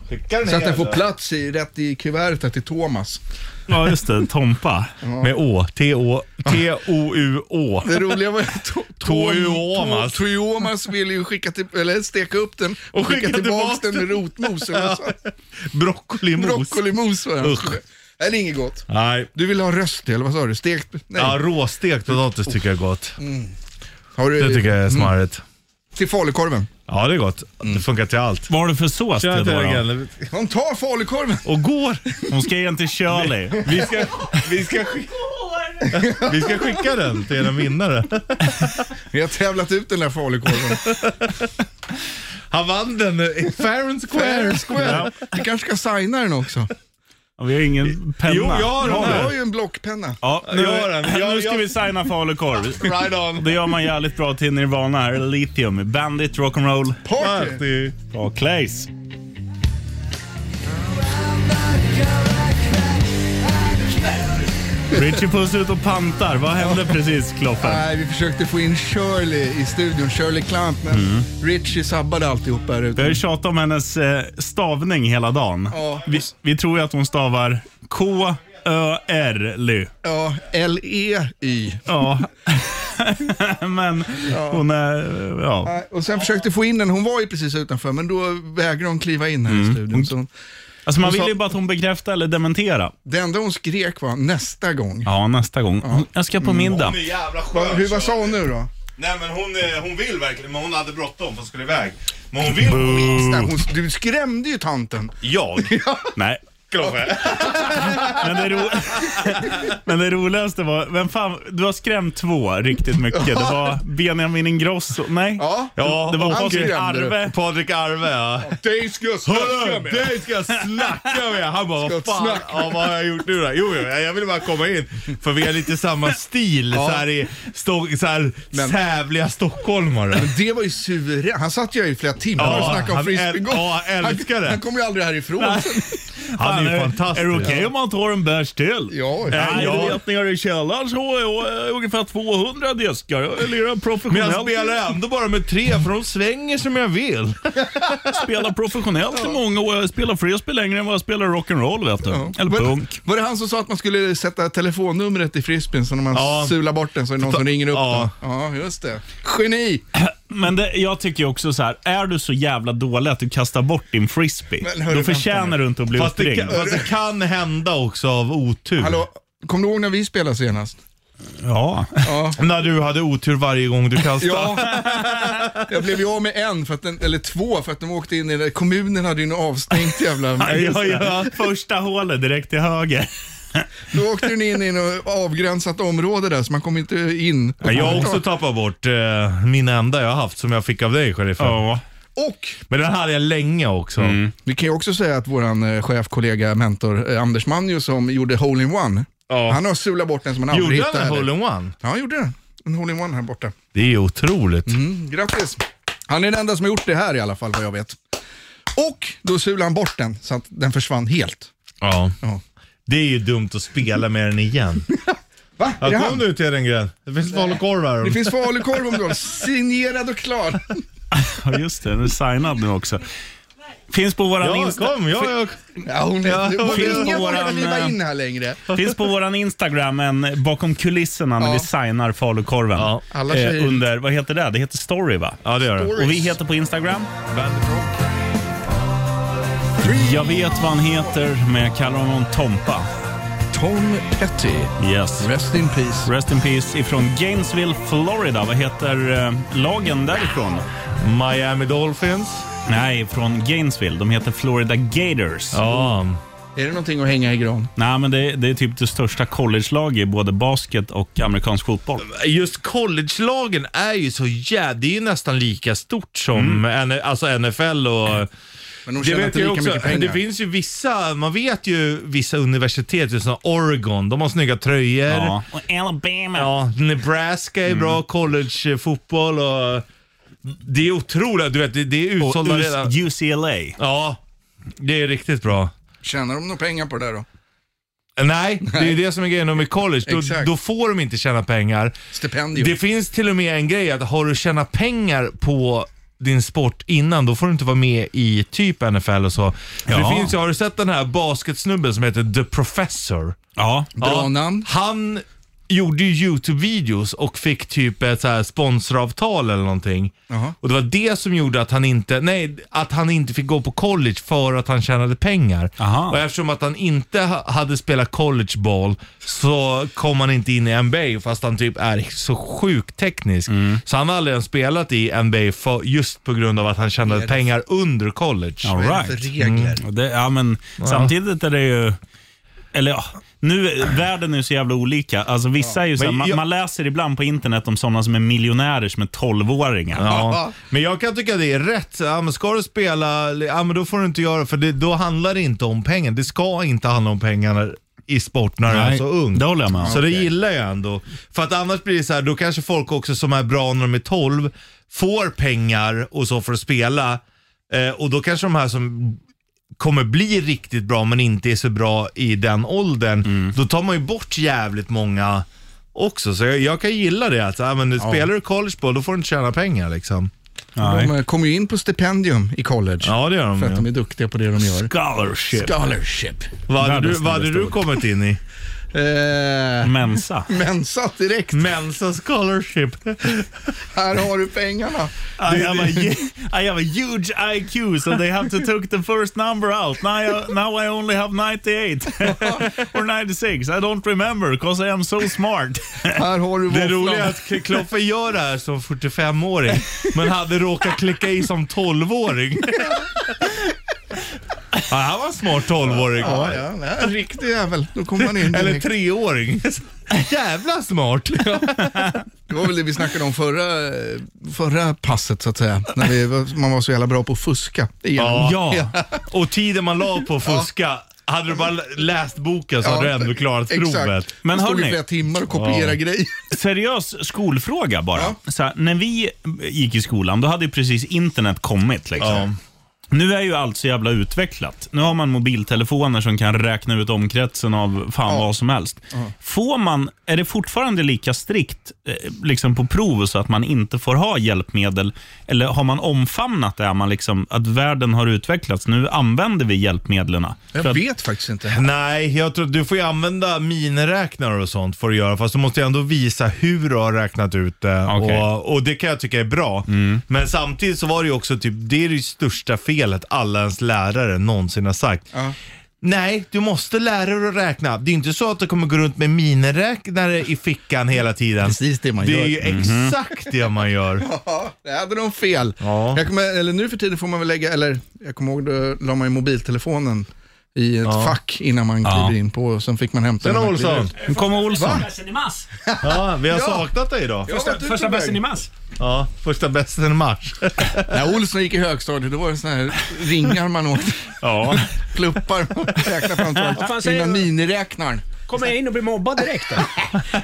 [SPEAKER 3] Skicka den
[SPEAKER 4] Så att den får plats i, rätt i kuvertet till Thomas.
[SPEAKER 2] Ja, just det. Tompa.
[SPEAKER 3] Med Å. T-O- T-O-U-Å.
[SPEAKER 4] Det roliga var ju att To-
[SPEAKER 3] Toyomas.
[SPEAKER 4] To- Toyomas ville ju skicka till, eller steka upp den och, skicka,
[SPEAKER 3] skicka
[SPEAKER 4] tillbaks
[SPEAKER 3] tillbaks
[SPEAKER 4] den med rotmos. eller så.
[SPEAKER 3] Broccolimos.
[SPEAKER 4] Broccolimos var det.
[SPEAKER 3] Usch.
[SPEAKER 4] Nej, det är inget gott.
[SPEAKER 3] Nej.
[SPEAKER 4] Du vill ha röst eller vad sa du? Stekt? Nej.
[SPEAKER 3] Ja, råstekt potatis tycker jag är gott.
[SPEAKER 4] har du,
[SPEAKER 3] Det tycker jag är smarrigt.
[SPEAKER 4] Till falukorven.
[SPEAKER 3] Ja, det är gott. Det funkar till allt.
[SPEAKER 2] Vad har du för sås till då? då?
[SPEAKER 4] Hon tar falukorven.
[SPEAKER 3] Och går.
[SPEAKER 2] Hon ska ge en till Shirley.
[SPEAKER 3] Vi ska, vi, ska skick- vi ska skicka den till en vinnare.
[SPEAKER 4] Vi har tävlat ut den där falukorven.
[SPEAKER 3] Han vann den i fair and
[SPEAKER 4] Fair
[SPEAKER 3] square.
[SPEAKER 4] and square. Vi kanske ska signa den också.
[SPEAKER 2] Ja, Vi har ingen penna.
[SPEAKER 3] Jo, jag har den
[SPEAKER 4] Jag
[SPEAKER 3] här.
[SPEAKER 4] har ju en blockpenna.
[SPEAKER 2] Ja, nu,
[SPEAKER 3] Jag har den.
[SPEAKER 2] nu
[SPEAKER 3] Jag-
[SPEAKER 2] ska
[SPEAKER 3] jag-
[SPEAKER 2] vi signa falukorv.
[SPEAKER 3] Right on.
[SPEAKER 2] Det gör man jävligt bra till Nirvana här. Lithium, Bandit, Rock'n'Roll.
[SPEAKER 4] Party!
[SPEAKER 2] Bra Clays. Richie Puss ut och pantar. Vad hände precis Kloffe?
[SPEAKER 4] Nej, vi försökte få in Shirley i studion, Shirley Clamp, men
[SPEAKER 3] Mm.
[SPEAKER 4] Richie sabbade alltihop här
[SPEAKER 2] Vi har
[SPEAKER 4] ute.
[SPEAKER 2] ju tjatat om hennes eh, stavning hela dagen.
[SPEAKER 4] Ja.
[SPEAKER 2] Vi, vi tror ju att hon stavar K-Ö-R-L-Y.
[SPEAKER 4] Ja,
[SPEAKER 3] E
[SPEAKER 4] L-E-Y.
[SPEAKER 2] Ja. Men hon är... eh, Ja.
[SPEAKER 4] Nej, Och sen försökte få in den, hon var ju precis utanför, men då vägrade hon kliva in här
[SPEAKER 3] Mm.
[SPEAKER 4] i studion. Så
[SPEAKER 2] Alltså man
[SPEAKER 4] Hon sa-
[SPEAKER 2] vill ju bara att hon bekräftar eller dementerar.
[SPEAKER 4] det enda hon skrek var nästa gång.
[SPEAKER 2] Ja, nästa gång. Jag ska på middag.
[SPEAKER 3] är jävla
[SPEAKER 4] Va, hur, vad sa hon nu då?
[SPEAKER 3] Nej men hon, eh, hon vill verkligen, men hon hade bråttom för hon skulle iväg. Men hon vill...
[SPEAKER 4] Nej, hon, du skrämde ju tanten.
[SPEAKER 3] Jag?
[SPEAKER 2] Nej.
[SPEAKER 3] Kloffe?
[SPEAKER 2] Men det, ro... Men det roligaste var, vem fan, du har skrämt två riktigt mycket. Det var Benjamin Ingrosso, nej?
[SPEAKER 4] Ja.
[SPEAKER 3] Ja,
[SPEAKER 2] Det var
[SPEAKER 4] han
[SPEAKER 2] Patrik
[SPEAKER 4] skrämde du.
[SPEAKER 2] Arve.
[SPEAKER 3] Patrik Arve ja.
[SPEAKER 4] Dig ska jag
[SPEAKER 3] Hörru, dig ska jag snacka med! Han bara, vad
[SPEAKER 4] Ska
[SPEAKER 3] fan,
[SPEAKER 4] snacka.
[SPEAKER 3] ja, vad har jag gjort nu då? Jo, jo, jag ville bara komma in. För vi har lite samma stil, så här i sto- så här
[SPEAKER 4] Men-
[SPEAKER 3] sävliga stockholmare.
[SPEAKER 4] Det var ju suveränt. Han satt ju här i flera timmar
[SPEAKER 3] Ja,
[SPEAKER 4] och snackade om
[SPEAKER 3] han äl-
[SPEAKER 4] frisbeegolf.
[SPEAKER 3] ja, han älskar det.
[SPEAKER 4] Han, han kommer ju aldrig härifrån.
[SPEAKER 3] Han är ju fantastisk.
[SPEAKER 2] Är det okej om man tar en bärs till? Eh,
[SPEAKER 3] Ja, ja.
[SPEAKER 2] Nej, du vet, nere i källaren så har jag eh, ungefär 200 diskar. Jag lirar
[SPEAKER 3] Men
[SPEAKER 2] professionellt.
[SPEAKER 3] jag spelar ändå bara med tre, för de svänger som jag vill.
[SPEAKER 2] spelar professionellt i många år. Jag spelar frisbee längre än vad jag spelar rock'n'roll, vet du. Eller
[SPEAKER 4] Var-
[SPEAKER 2] punk.
[SPEAKER 4] Var det han som sa att man skulle sätta telefonnumret i frisbeen så när man
[SPEAKER 2] Ja.
[SPEAKER 4] sular bort den så är det någon som ringer upp
[SPEAKER 2] Ja.
[SPEAKER 4] den? Ja, just det. Geni!
[SPEAKER 2] Men det, jag tycker ju också så här, är du så jävla dålig att du kastar bort din frisbee,
[SPEAKER 4] Men hörru,
[SPEAKER 2] då förtjänar du inte att bli
[SPEAKER 3] Fast det,
[SPEAKER 2] uppringd.
[SPEAKER 3] kan, fast det kan hända också av otur.
[SPEAKER 4] Hallå, kom du ihåg när vi spelade senast?
[SPEAKER 2] Ja.
[SPEAKER 3] När du hade otur varje gång du kastade.
[SPEAKER 4] Ja. Jag blev ju av med en, för att den, eller två, för att de åkte in i det. Kommunen hade ju något avstängt jävla...
[SPEAKER 2] Ja, ja, första hålet direkt till höger.
[SPEAKER 4] Då åkte den in i något avgränsat område där, så man kom inte in.
[SPEAKER 3] Ja, Jag har också tappat bort eh, min enda jag har haft som jag fick av dig, sheriffen.
[SPEAKER 2] Ja.
[SPEAKER 4] Och
[SPEAKER 3] Men den hade jag länge också.
[SPEAKER 4] Vi kan ju också säga att våran eh, chef, kollega, mentor eh, Anders Manjo som gjorde Hole-in-One, han har sulat bort den som han aldrig
[SPEAKER 3] Gjorde
[SPEAKER 4] hittade.
[SPEAKER 3] han en hole-in-one?
[SPEAKER 4] Ja, han gjorde det. En Hole-in-One här borta.
[SPEAKER 3] Det är ju otroligt.
[SPEAKER 4] Mm, grattis! Han är den enda som har gjort det här i alla fall, vad jag vet. Och då sulade han bort den, så att den försvann helt.
[SPEAKER 3] Ja.
[SPEAKER 4] Ja.
[SPEAKER 3] Det är ju dumt att spela med den igen.
[SPEAKER 4] Va? Är det
[SPEAKER 3] Ja,
[SPEAKER 4] han?
[SPEAKER 3] kom du till den grejen. Det finns falukorv här.
[SPEAKER 4] Det finns falukorv om du har signerad och klar.
[SPEAKER 2] Ja, just det. Den är signad nu också. Finns på våran
[SPEAKER 3] Ja,
[SPEAKER 2] Insta.
[SPEAKER 3] kom. Ja, jag...
[SPEAKER 4] Ja, hon är,
[SPEAKER 3] Ja,
[SPEAKER 4] du borde-
[SPEAKER 2] finns på
[SPEAKER 4] ingen borde
[SPEAKER 2] våran,
[SPEAKER 4] kliva
[SPEAKER 2] eh,
[SPEAKER 4] in här längre.
[SPEAKER 2] Finns på våran Instagram, en bakom kulisserna när
[SPEAKER 4] Ja.
[SPEAKER 2] vi signar falukorven. Eh,
[SPEAKER 3] Ja,
[SPEAKER 4] alla tjejer-
[SPEAKER 2] under, vad heter det? Det heter Story va?
[SPEAKER 3] ja, det gör det.
[SPEAKER 2] Och vi heter på Instagram? Jag vet vad han heter, men jag kallar honom Tompa.
[SPEAKER 4] Tom Petty,
[SPEAKER 2] Yes.
[SPEAKER 4] rest in peace.
[SPEAKER 2] Rest in peace ifrån Gainesville, Florida. Vad heter eh, lagen därifrån?
[SPEAKER 3] Miami Dolphins.
[SPEAKER 2] Nej, från Gainesville. De heter Florida Gators.
[SPEAKER 3] Ja.
[SPEAKER 4] Är det någonting att hänga i gran?
[SPEAKER 2] Nej, men det, det är typ det största college-laget i både basket och amerikansk fotboll.
[SPEAKER 3] Just college-lagen är ju så jävla... Det är ju nästan lika stort som N- alltså NFL och...
[SPEAKER 4] Men de
[SPEAKER 3] Det
[SPEAKER 4] tjänar
[SPEAKER 3] vet
[SPEAKER 4] inte
[SPEAKER 3] jag
[SPEAKER 4] lika
[SPEAKER 3] också.
[SPEAKER 4] mycket pengar.
[SPEAKER 3] Det finns ju vissa, man vet ju vissa universitet, just som Oregon, de har snygga tröjor. Ja. Mm.
[SPEAKER 2] Ja. Och Alabama.
[SPEAKER 3] Nebraska är bra collegefotboll och det är otroligt. Du vet, det, det är
[SPEAKER 2] Och
[SPEAKER 3] utsålda
[SPEAKER 2] US-
[SPEAKER 3] redan.
[SPEAKER 2] UCLA.
[SPEAKER 3] Ja, det är riktigt bra.
[SPEAKER 4] Tjänar de några pengar på det där då?
[SPEAKER 3] Nej, det är ju det som är grejen med college. Då,
[SPEAKER 4] Exakt.
[SPEAKER 3] då får de inte tjäna pengar.
[SPEAKER 4] Stipendium.
[SPEAKER 3] Det finns till och med en grej att har du tjänat pengar på din sport innan, då får du inte vara med i typ NFL och så. För
[SPEAKER 2] Ja.
[SPEAKER 3] Det finns, ju- har du sett den här basketsnubben som heter The Professor?
[SPEAKER 2] Ja.
[SPEAKER 4] Bra namn.
[SPEAKER 3] Han gjorde ju YouTube-videos och fick typ ett så här sponsoravtal eller någonting.
[SPEAKER 4] Jaha.
[SPEAKER 3] Och det var det som gjorde att han inte, nej, att han inte fick gå på college för att han tjänade pengar.
[SPEAKER 2] Aha.
[SPEAKER 3] Och eftersom att han inte ha- hade spelat collegeball så kom han inte in i NBA fast han typ är så sjukt teknisk. Så han har aldrig ens spelat i NBA för, just på grund av att han tjänade pengar under college.
[SPEAKER 2] All
[SPEAKER 4] Vad är det för
[SPEAKER 2] right.
[SPEAKER 4] regler?
[SPEAKER 2] Och Det, ja, men samtidigt är det ju... Eller ja, nu, världen är ju så jävla olika. Alltså, vissa är ju så här,
[SPEAKER 3] Men
[SPEAKER 2] man,
[SPEAKER 3] jag-
[SPEAKER 2] man läser ibland på internet om sådana som är miljonärer som är tolvåringar.
[SPEAKER 3] Ja. Men jag kan tycka det är rätt. Ja, men ska du spela, ja, men då får du inte göra för det, då handlar det inte om pengar. Det ska inte handla om pengar i sport när du är
[SPEAKER 2] Nej,
[SPEAKER 3] så ung.
[SPEAKER 2] det håller jag med om.
[SPEAKER 3] Så det gillar jag ändå. För att annars blir det så här, då kanske folk också som är bra när de är 12 får pengar och så för att spela. Eh, och då kanske de här som kommer bli riktigt bra men inte är så bra i den åldern,
[SPEAKER 2] Mm.
[SPEAKER 3] då tar man ju bort jävligt många också. Så jag, jag kan gilla det att, ja, men spelar du collegeball då får du inte tjäna pengar liksom.
[SPEAKER 2] Nej.
[SPEAKER 4] De eh, kommer ju in på stipendium i college.
[SPEAKER 3] Ja, det gör de
[SPEAKER 4] För att
[SPEAKER 3] ju.
[SPEAKER 4] de är duktiga på det de gör.
[SPEAKER 2] Scholarship.
[SPEAKER 4] Scholarship.
[SPEAKER 3] Vad hade, du,
[SPEAKER 2] Världens
[SPEAKER 3] vad hade
[SPEAKER 2] snällaste
[SPEAKER 3] du
[SPEAKER 2] ord.
[SPEAKER 3] kommit in i?
[SPEAKER 4] Eh,
[SPEAKER 2] Mensa.
[SPEAKER 4] mensat direkt.
[SPEAKER 3] Mensa scholarship.
[SPEAKER 4] Här har du pengarna.
[SPEAKER 2] I have, a, hu- I have a huge IQ, so they have to take the first number out. Now I, now I only have 98 or 96. I don't remember because I am so smart.
[SPEAKER 4] Här har du
[SPEAKER 3] Det roliga är
[SPEAKER 4] våfflan.
[SPEAKER 3] att Kloffe gör det här som 45-åring, men hade råkat klicka i som 12-åring. Ja, han var en smart 12-åring.
[SPEAKER 4] Ja, ja, det är en riktig jävel. Då kommer man in
[SPEAKER 3] Eller
[SPEAKER 4] direkt.
[SPEAKER 3] 3-åring. Jävla smart.
[SPEAKER 4] Det var väl det vi snackade om förra, förra passet så att säga. När vi, var- man var så jävla bra på att fuska. Ja.
[SPEAKER 2] Ja.
[SPEAKER 3] Och tiden man la på att fuska, hade du bara läst boken så hade du ändå klarat provet.
[SPEAKER 4] Exakt.
[SPEAKER 2] Men
[SPEAKER 4] Men stod i
[SPEAKER 2] hörni-
[SPEAKER 4] flera timmar och kopierade grejer.
[SPEAKER 2] Seriös skolfråga bara. Så här, när vi gick i skolan, då hade ju precis internet kommit. Liksom. Nu är ju allt så jävla utvecklat. Nu har man mobiltelefoner som kan räkna ut omkretsen av fan vad som helst. Får man, är det fortfarande lika strikt eh, liksom på prov så att man inte får ha hjälpmedel? Eller har man omfamnat det? Är man liksom, att världen har utvecklats, nu använder vi hjälpmedlen. För
[SPEAKER 3] Jag
[SPEAKER 2] att-
[SPEAKER 3] vet faktiskt inte. Nej, jag tror, du får ju använda miniräknare och sånt för att göra, fast du måste ju ändå visa hur du har räknat ut det.
[SPEAKER 2] Okej.
[SPEAKER 3] Och, och det kan jag tycka är bra.
[SPEAKER 4] Mm.
[SPEAKER 3] Men samtidigt så var det ju också typ, det är det största felet alla ens lärare någonsin har sagt. Nej, du måste lära dig att räkna. Det är inte så att du kommer gå runt med miniräknare i fickan hela tiden. Precis det
[SPEAKER 4] man
[SPEAKER 3] Det
[SPEAKER 4] gör.
[SPEAKER 3] är ju
[SPEAKER 4] Mhm.
[SPEAKER 3] exakt det man gör.
[SPEAKER 4] Ja, det hade de fel. Jag kommer, eller nu för tiden får man väl lägga, eller jag kommer ihåg då la man ju mobiltelefonen i ett
[SPEAKER 2] Ja.
[SPEAKER 4] fack innan man
[SPEAKER 2] Ja.
[SPEAKER 4] kliver in på och sen fick man hämta
[SPEAKER 2] Tjena,
[SPEAKER 4] när man kliver
[SPEAKER 2] Olsson.
[SPEAKER 4] ut.
[SPEAKER 2] Nu kommer Olsson.
[SPEAKER 4] Va?
[SPEAKER 2] Bästen i mass.
[SPEAKER 3] Ja, vi har
[SPEAKER 4] Ja.
[SPEAKER 3] saknat dig idag.
[SPEAKER 4] Ja, Första- du tog första vägen. bästen i mass.
[SPEAKER 3] Ja, första bästen i mars.
[SPEAKER 4] När Olsson gick i högstadiet, då var det sådana här ringar man åkte.
[SPEAKER 2] Ja.
[SPEAKER 4] Pluppar man räknade
[SPEAKER 13] Vad fan
[SPEAKER 4] framförallt.
[SPEAKER 13] säger
[SPEAKER 4] Innan
[SPEAKER 13] du?
[SPEAKER 4] miniräknaren.
[SPEAKER 13] Kommer jag in och blir mobbad direkt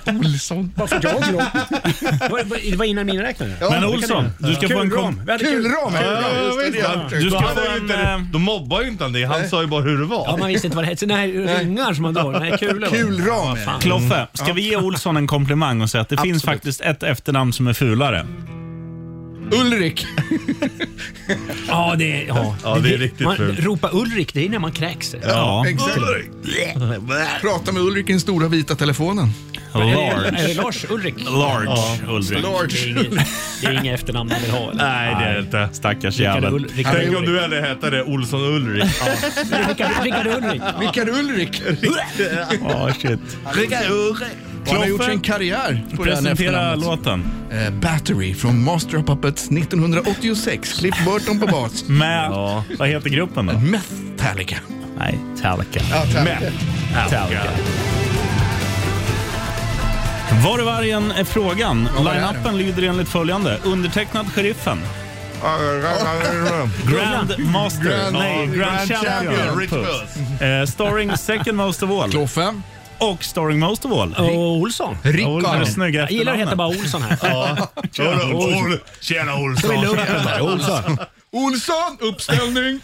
[SPEAKER 13] då?
[SPEAKER 4] Olsson.
[SPEAKER 13] Varför jag så långt? Det var innan min räknare.
[SPEAKER 2] Ja, Men det kan Olsson, jag. du ska få en
[SPEAKER 13] Kulram.
[SPEAKER 2] kom-
[SPEAKER 13] Väldigt kul.
[SPEAKER 4] Kulram,
[SPEAKER 3] Ja, ja, visst. Han-
[SPEAKER 2] Du ska
[SPEAKER 3] då hade
[SPEAKER 2] få
[SPEAKER 3] han ju
[SPEAKER 2] en,
[SPEAKER 3] inte-
[SPEAKER 2] eh,
[SPEAKER 3] Då mobbar ju inte han dig. Han
[SPEAKER 2] Nej.
[SPEAKER 3] sa ju bara hur det var.
[SPEAKER 13] Ja, man visste inte vad det hette. Nej, ringar som man drar. Nej, kulor. var det. Ja, fan.
[SPEAKER 2] Kloffe, ska vi ge Olsson en komplimang och säga att det finns faktiskt ett efternamn som är fulare?
[SPEAKER 4] Ulrik.
[SPEAKER 13] Ja, det är, ja.
[SPEAKER 2] Ja, det är riktigt
[SPEAKER 13] man,
[SPEAKER 2] fult.
[SPEAKER 13] Ropa Ulrik, det är när man kräks.
[SPEAKER 2] Ja.
[SPEAKER 4] Exakt. Prata med Ulrik i den stora vita telefonen.
[SPEAKER 13] Large. Är det Lars Ulrik?
[SPEAKER 2] Large Ja. Ulrik. Large.
[SPEAKER 13] Det är inget, det är inget efternamn man vill ha. eller?
[SPEAKER 2] Nej, det är det inte. Stackars
[SPEAKER 13] Rickard
[SPEAKER 2] jävel.
[SPEAKER 13] Ul- Rickard Tänk om Ulrik.
[SPEAKER 3] du hade hetat det Olsson Ulrik.
[SPEAKER 13] Rickard- Rickard Ulrik.
[SPEAKER 4] Rickard Ulrik.
[SPEAKER 2] Ja, shit.
[SPEAKER 4] Rickard Ulrik. Han har
[SPEAKER 2] Kloffe.
[SPEAKER 4] gjort sin karriär på det här
[SPEAKER 2] Presentera
[SPEAKER 4] efternamnet.
[SPEAKER 2] låten.
[SPEAKER 4] Eh, Battery från Master of Puppets 1986. Cliff Burton på bas.
[SPEAKER 2] Med, vad heter gruppen då?
[SPEAKER 4] Metallica.
[SPEAKER 2] Nej, Talica.
[SPEAKER 4] Ja, Talica.
[SPEAKER 2] Metallica. Var är vargen är frågan. Line-upen lyder enligt följande. Undertecknad sheriffen. Grand Master.
[SPEAKER 3] Grand-
[SPEAKER 2] Nej, Grand,
[SPEAKER 3] Grand
[SPEAKER 2] Champion.
[SPEAKER 3] Champion, Rick
[SPEAKER 2] Puss.
[SPEAKER 3] Puss.
[SPEAKER 2] Eh, starring second most of all.
[SPEAKER 4] Kloffe.
[SPEAKER 2] Och starring most of all.
[SPEAKER 13] Och Olsson.
[SPEAKER 2] Olsson. Det snygga
[SPEAKER 13] Jag gillar att heta bara Olsson här.
[SPEAKER 2] Ja.
[SPEAKER 3] Tjena Olsson. Tjena Olsson. Tjena Olsson.
[SPEAKER 4] Olsson, uppställning.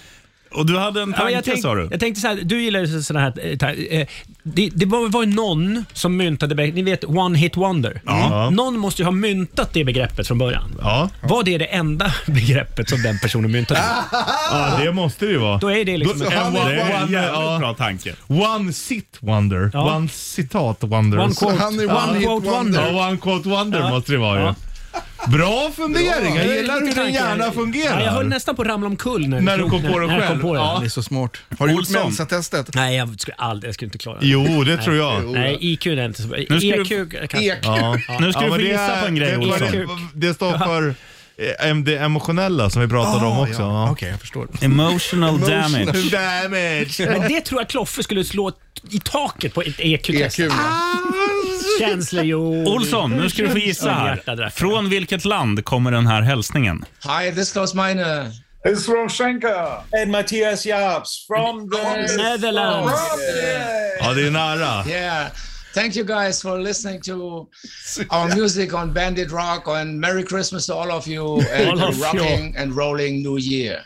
[SPEAKER 2] Och du hade en
[SPEAKER 13] Ja, men
[SPEAKER 2] tanke
[SPEAKER 13] tänk-
[SPEAKER 2] sa du?
[SPEAKER 13] Jag tänkte så här, du gillar ju så- såna här... eh, ta- eh, Det, det var var ju någon som myntade begreppet, ni vet one hit wonder.
[SPEAKER 2] Ja.
[SPEAKER 13] Någon måste ju ha myntat det begreppet från början.
[SPEAKER 3] Ja.
[SPEAKER 13] Var det det enda begreppet som den personen myntade?
[SPEAKER 3] Ja, det måste det ju vara.
[SPEAKER 13] Då är det liksom...
[SPEAKER 3] Då-
[SPEAKER 13] en
[SPEAKER 3] det
[SPEAKER 13] one-
[SPEAKER 3] är
[SPEAKER 13] one-
[SPEAKER 3] en jävligt
[SPEAKER 2] bra tanke.
[SPEAKER 3] One sit wonder.
[SPEAKER 13] Ja.
[SPEAKER 3] One citat wonder.
[SPEAKER 13] One quote.
[SPEAKER 3] Så han är
[SPEAKER 13] One
[SPEAKER 3] hit
[SPEAKER 13] quote wonder.
[SPEAKER 3] Ja, one quote wonder
[SPEAKER 13] Ja.
[SPEAKER 3] måste det vara ju.
[SPEAKER 13] Ja.
[SPEAKER 3] Bra fundering. Jag gillar hur din
[SPEAKER 13] Tanken-
[SPEAKER 3] hjärna
[SPEAKER 13] Ja, jag höll
[SPEAKER 3] fungerar.
[SPEAKER 13] nästan på att ramla omkull när,
[SPEAKER 3] När du kom på den
[SPEAKER 13] när jag
[SPEAKER 3] själv.
[SPEAKER 13] Kom på den.
[SPEAKER 3] Ja.
[SPEAKER 4] Det är så smart. Har du gjort
[SPEAKER 13] Olsson.
[SPEAKER 4] Mensa-testet?
[SPEAKER 13] Nej, jag skulle aldrig, jag skulle inte klara det.
[SPEAKER 3] Jo, det tror jag.
[SPEAKER 13] Nej, Nej IQ är inte så bra.
[SPEAKER 2] Nu ska du-
[SPEAKER 13] EQ kanske.
[SPEAKER 3] Ja.
[SPEAKER 2] Nu ska du
[SPEAKER 3] Ja, men
[SPEAKER 2] få
[SPEAKER 3] det
[SPEAKER 2] gissa
[SPEAKER 3] är-
[SPEAKER 2] på en grej
[SPEAKER 3] det-
[SPEAKER 2] Olsson.
[SPEAKER 3] Det står för eh, em- det emotionella som vi pratade om också. Ja.
[SPEAKER 4] jag förstår.
[SPEAKER 2] Emotional damage.
[SPEAKER 13] Men det tror jag Kloffe skulle slå i taket på ett E EQ-test.
[SPEAKER 3] E
[SPEAKER 4] EQ, ja.
[SPEAKER 13] Känslor, jo.
[SPEAKER 2] Olsson, nu ska du få gissa
[SPEAKER 13] Ja,
[SPEAKER 2] här.
[SPEAKER 13] hjärta drack.
[SPEAKER 2] Från vilket land kommer den här hälsningen?
[SPEAKER 14] Hi, this uh, is Klaus Meine. This is Rolf Schenker. And Matthias Jabs from the
[SPEAKER 13] Netherlands.
[SPEAKER 3] Ja, det är nära.
[SPEAKER 14] Yeah. Thank you guys for listening to our music on Bandit Rock and Merry Christmas to all of you and
[SPEAKER 13] All
[SPEAKER 14] a
[SPEAKER 13] of you.
[SPEAKER 14] rocking and rolling new year.